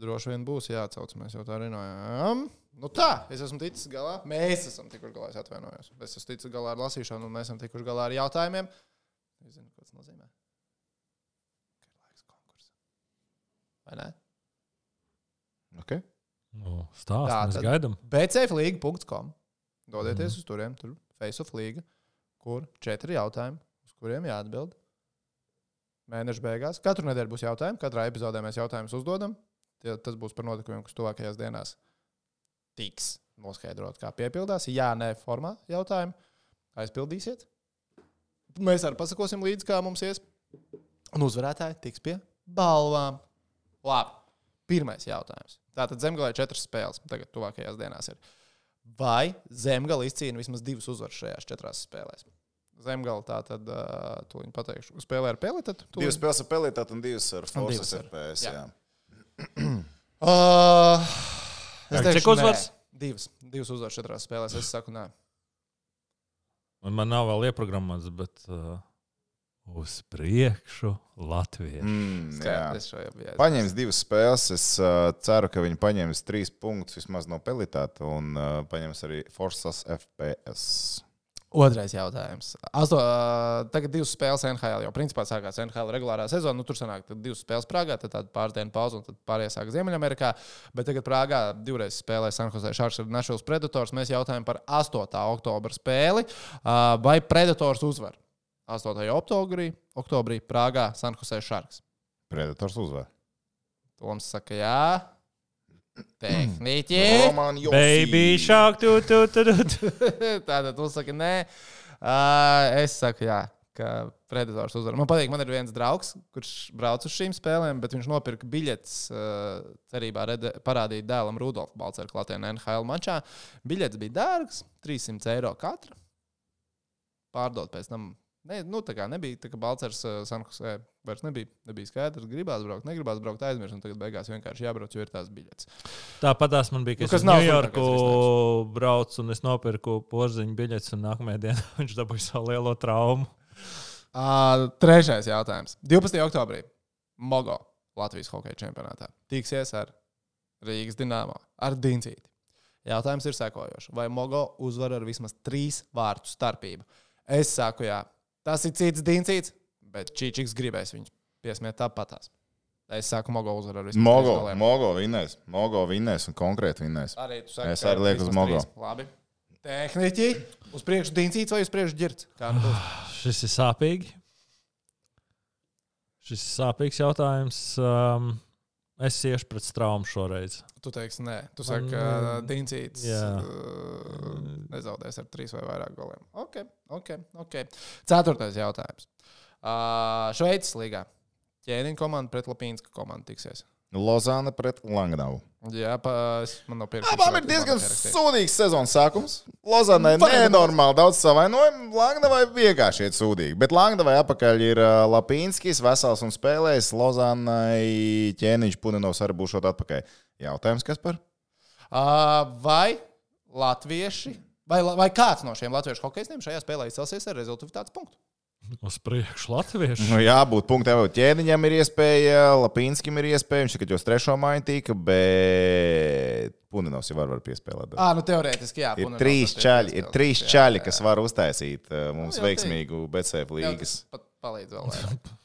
Droši vien būs jāatcauc, mēs jau tā runājām. Nu tā, es esmu ticis galā. Mēs esam tikuši galā, es atvainojos. Es esmu ticis galā ar lasīšanu, un mēs esam tikuši galā ar jautājumiem. Es zinu, ko tas nozīmē. vai ne? Okay. Nu, stāsts, Tā, mēs tad- gaidām. BCFLīga.com. Dodieties uz turiem, tur Face of League, kur četri jautājumi, uz kuriem jāatbild. Mēneša beigās. Katru nedēļu būs jautājumi, katrā epizodē mēs jautājumus uzdodam. Tie- Tas būs par notikumiem, kas tuvākajās dienās tiks noskaidrot, kā piepildās. Jā, nē, formā jautājumu aizpildīsiet. Mēs arī pasakosim līdzi, kā mums ies. Un uzvarētāji tiks pie balvām. Labi. Pirmais jautājums. Tātad zemgālē ir četras spēles. Tagad, tuvākajās dienās, ir. Vai zemgālē izcīna vismaz divas uzvaras šajās četrās spēlēs? Zemgālē tā tad, uh, tu viņu pateikšu, spēlē ar Pelītu. Divas spēles ar Pelītātu un divas ar Forza divas ar- FPS. jā. Jā. Uh, Jā, es teikšu, cik nē. uzvaras? Divas. Divas uzvaras četrās spēlēs. Es saku, nē. Un man nav vēl ieprogrammēts, bet uh, uz priekšu Latvijas. Mm, jā. Skaidrs, šo jau bija. Paņēmis divas spēles. Es uh, ceru, ka viņi paņēmis trīs punktus vismaz no Pelītāta un uh, paņēmis arī Forza FPS. Otrais jautājums. Asto, uh, tagad divas spēles NHL. Jau principā sākās NHL regulārā sezona. Nu, tur sanāk, ka divas spēles Prāgā, tad tāda pāris dienu pauze, un tad pārējais sāk Ziemeļamerikā. Bet tagad Prāgā divreiz spēlē San Jose Sharks ar Nešvils Predators. Mēs jautājam par 8. oktobra spēli. Uh, vai Predators uzvar? 8. oktobrī, oktobrī Prāgā San Jose Sharks. Predators uzvar. Toms saka, jā. Tehniķi. Roman Josi. Baby shark, tu, tu, tu, tu, tu. Tātad tu saki, nē. Uh, es saku, jā, ka Predators uzvar. Man patīk, man ir viens draugs, kurš brauc uz šīm spēlēm, bet viņš nopirka biļetes uh, cerībā rede, parādīt dēlam Rudolf Balceru klātienē NHL mačā. Biļetes bija dārgas, 300 eiro katra. Pārdot pēc tam. Ne, nu, tā kā nebija, tā kā Balcers uh, Sankusē vairs nebija, nebija skaidrs, gribās braukt, negribās braukt, aizmirst, un tagad beigās vienkārši jābrauc, jo ir tās biļetes. Tāpatās man bija, Nu, ka kas es uz nav Ņujorku sliktākais braucu un es nopirku porziņu biļetes, un nākamajā dienā viņš dabūja savu lielo traumu. Ā, Trešais jautājums. 12. oktobrī Mogo Latvijas hokeja čempionātā tiksies ar Rīgas dīnāmo, ar Dienzīti. Jautājums ir sekojošs. Vai Mogo uzvar ar vismaz trīs vārtu starpību? Es saku, jā, tas ir cits Dienzīts, bet Čīčiks gribēs viņu piesmiet tāpatās. Es saku, Mogo uzvar ar vismaz Mogo, trīs goliem. Mogo vinnēs. Mogo vinnēs un konkrēti vinnēs. Arī tu saki, Es ka arī lieku uz vismaz Mogo. trīs. Labi. Tehniķi, uz priekšu Dienzīts vai uz priekšu Girts? Kā nu būs? Šis ir sāpīgi. Šis ir sāpīgs jautājums. Um, es iešu pret traumu šoreiz. Tu teiksi, nē, tu saki, ka uh, Man- Dienzīts Jā. uh, nezaudēs ar trīs vai vairāk goliem. Ok, ok. okay. Ceturtais jautājums. Uh, Šveices līgā ķēniņa komanda pret Lapīnska komandu tiksies. Lozāna pret Langnau. Jā, pa, es, man nav pierādījums. Abām ir diezgan sūdīgs sezonas sākums. Mm, Lozanai Varētu būt. nenormāli daudz savainojumu, Langdavai vienkārši ir sūdīgi. Bet Langdavai apakaļ ir ā, Lapīnskis, vesels un spēlējis. Lozanai ķēniņš Punenovs arī būšot atpakaļ. Jautājums, kas par? Uh, vai latvieši, vai, la- vai kāds no šiem latviešu hokeistiem šajā spēlē izcelsies ar rezultātu punktu? Uz priekšu Latviešu. Nu, jā, būt punktam jau ķēniņam ir iespēja, Lapīnskim ir iespēja, viņš tikai jau trešo māju tika, bet Punenovs jau var, var piespēlēt. Jā, nu teorētiski jā. Ir Punenovs trīs ar tiem čaļi, ir izcelsies, trīs jā, čaļi, jā, kas jā. Nu, var uztaisīt ā, mums jau veiksmīgu BCF Jā, līgas. tas pat Palīdz vēl. vairāk.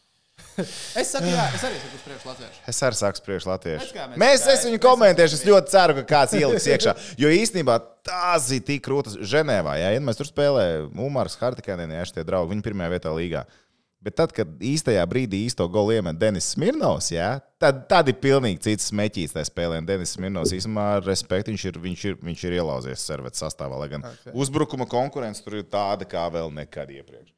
es saku, jā, es arī saku uz priekšu latviešu. Es arī sāku spriežot latviešu. Redz, kā mēs Mēs, es skaidri- viņu mēs komentēšu, es esam ļoti ceru, ka kāds ieliks iekšā. Jo īstenībā tās ir tik krūtas. Ženēvā, ja, ja mēs tur spēlējam, Umārs Hartikānē, ja šie draugi, viņi pirmajā vietā līgā. Bet tad, kad īstajā brīdī īsto golu iemet Denis Smirnovs, ja, tad, tad ir pilnīgi cits smēķis tajā spēlē. Un Denis Smirnovs īstenībā respekti, viņš ir, viņš ir, viņš ir ielauzies servetas sastāvā, lai gan okay. uzbrukuma konkurence tur ir tāda kā vēl nekad iepriekš.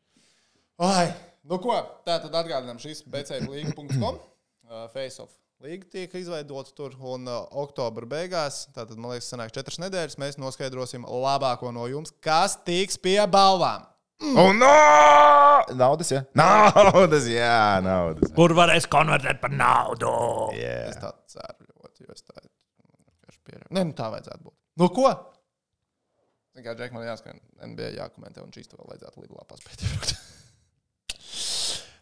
Ai, nu ko, tā tad atgādinām šis bcflīga.com. Uh, Face of League tiek izveidota tur un uh, oktobra beigās. Tātad, man liekas, sanāk četras nedēļas. Mēs noskaidrosim labāko no jums, kas tiks pie balvām. Oh, no! Naudas, jā? Ja? Naudas, jā, naudas. Kur varēs konvertēt par naudu? Yeah. Es tā ceru ļoti, jo es tā vienkārši pieņemu. Nē, nu tā vajadzētu būt. Nu ko? Zini Kā Džek, man jāskan NBA jākomentē, un šīs tev vēl vajadzētu līdz lapās pētīt.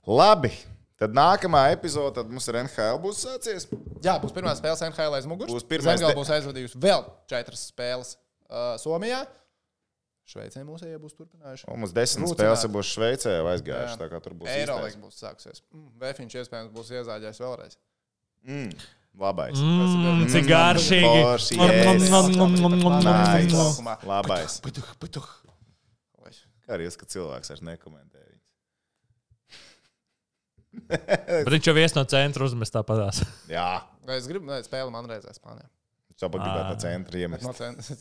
Labi. Tad nākamā epizode tad mums ar NHL būs sācies. Jā, būs pirmā spēle NHL aiz muguras. Būs pirmais Zemgale de- būs aizvadījusi vēl četras spēles uh, Somijā. Šveicē mums jau būs turpinājuši. Un mums desmit Rūcināt. spēles jau būs Šveicē vai aizgājuši. Tā kā tur būs Eirolands īstais. būs sāksies. Mm, Vēfiņš iespējams būs iezāģējis vēlreiz. Labais. Mm, Tas ir- cik garšīgi. Forši, Nom, nom, yes. nom, nom, nom, nom, nom, Nice. nom. Labais. Putuh, putuh. Oi. Kā arī jūs, ka cilvēks vairs nekomentē viņu? Bet viņš jau viens no centra uzmest tāpatās. Jā, Es gribu, lai spēle man reizē Spānijā. tāpat gribētu no centra No iemest. centra.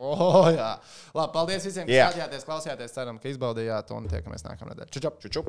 Oh, jā. Labi, paldies visiem, kas Jā. skatījāties, klausījāties. Ceram, ka izbaudījāt un tiekamies nākamnedēļ. Čau, čau! Čučup.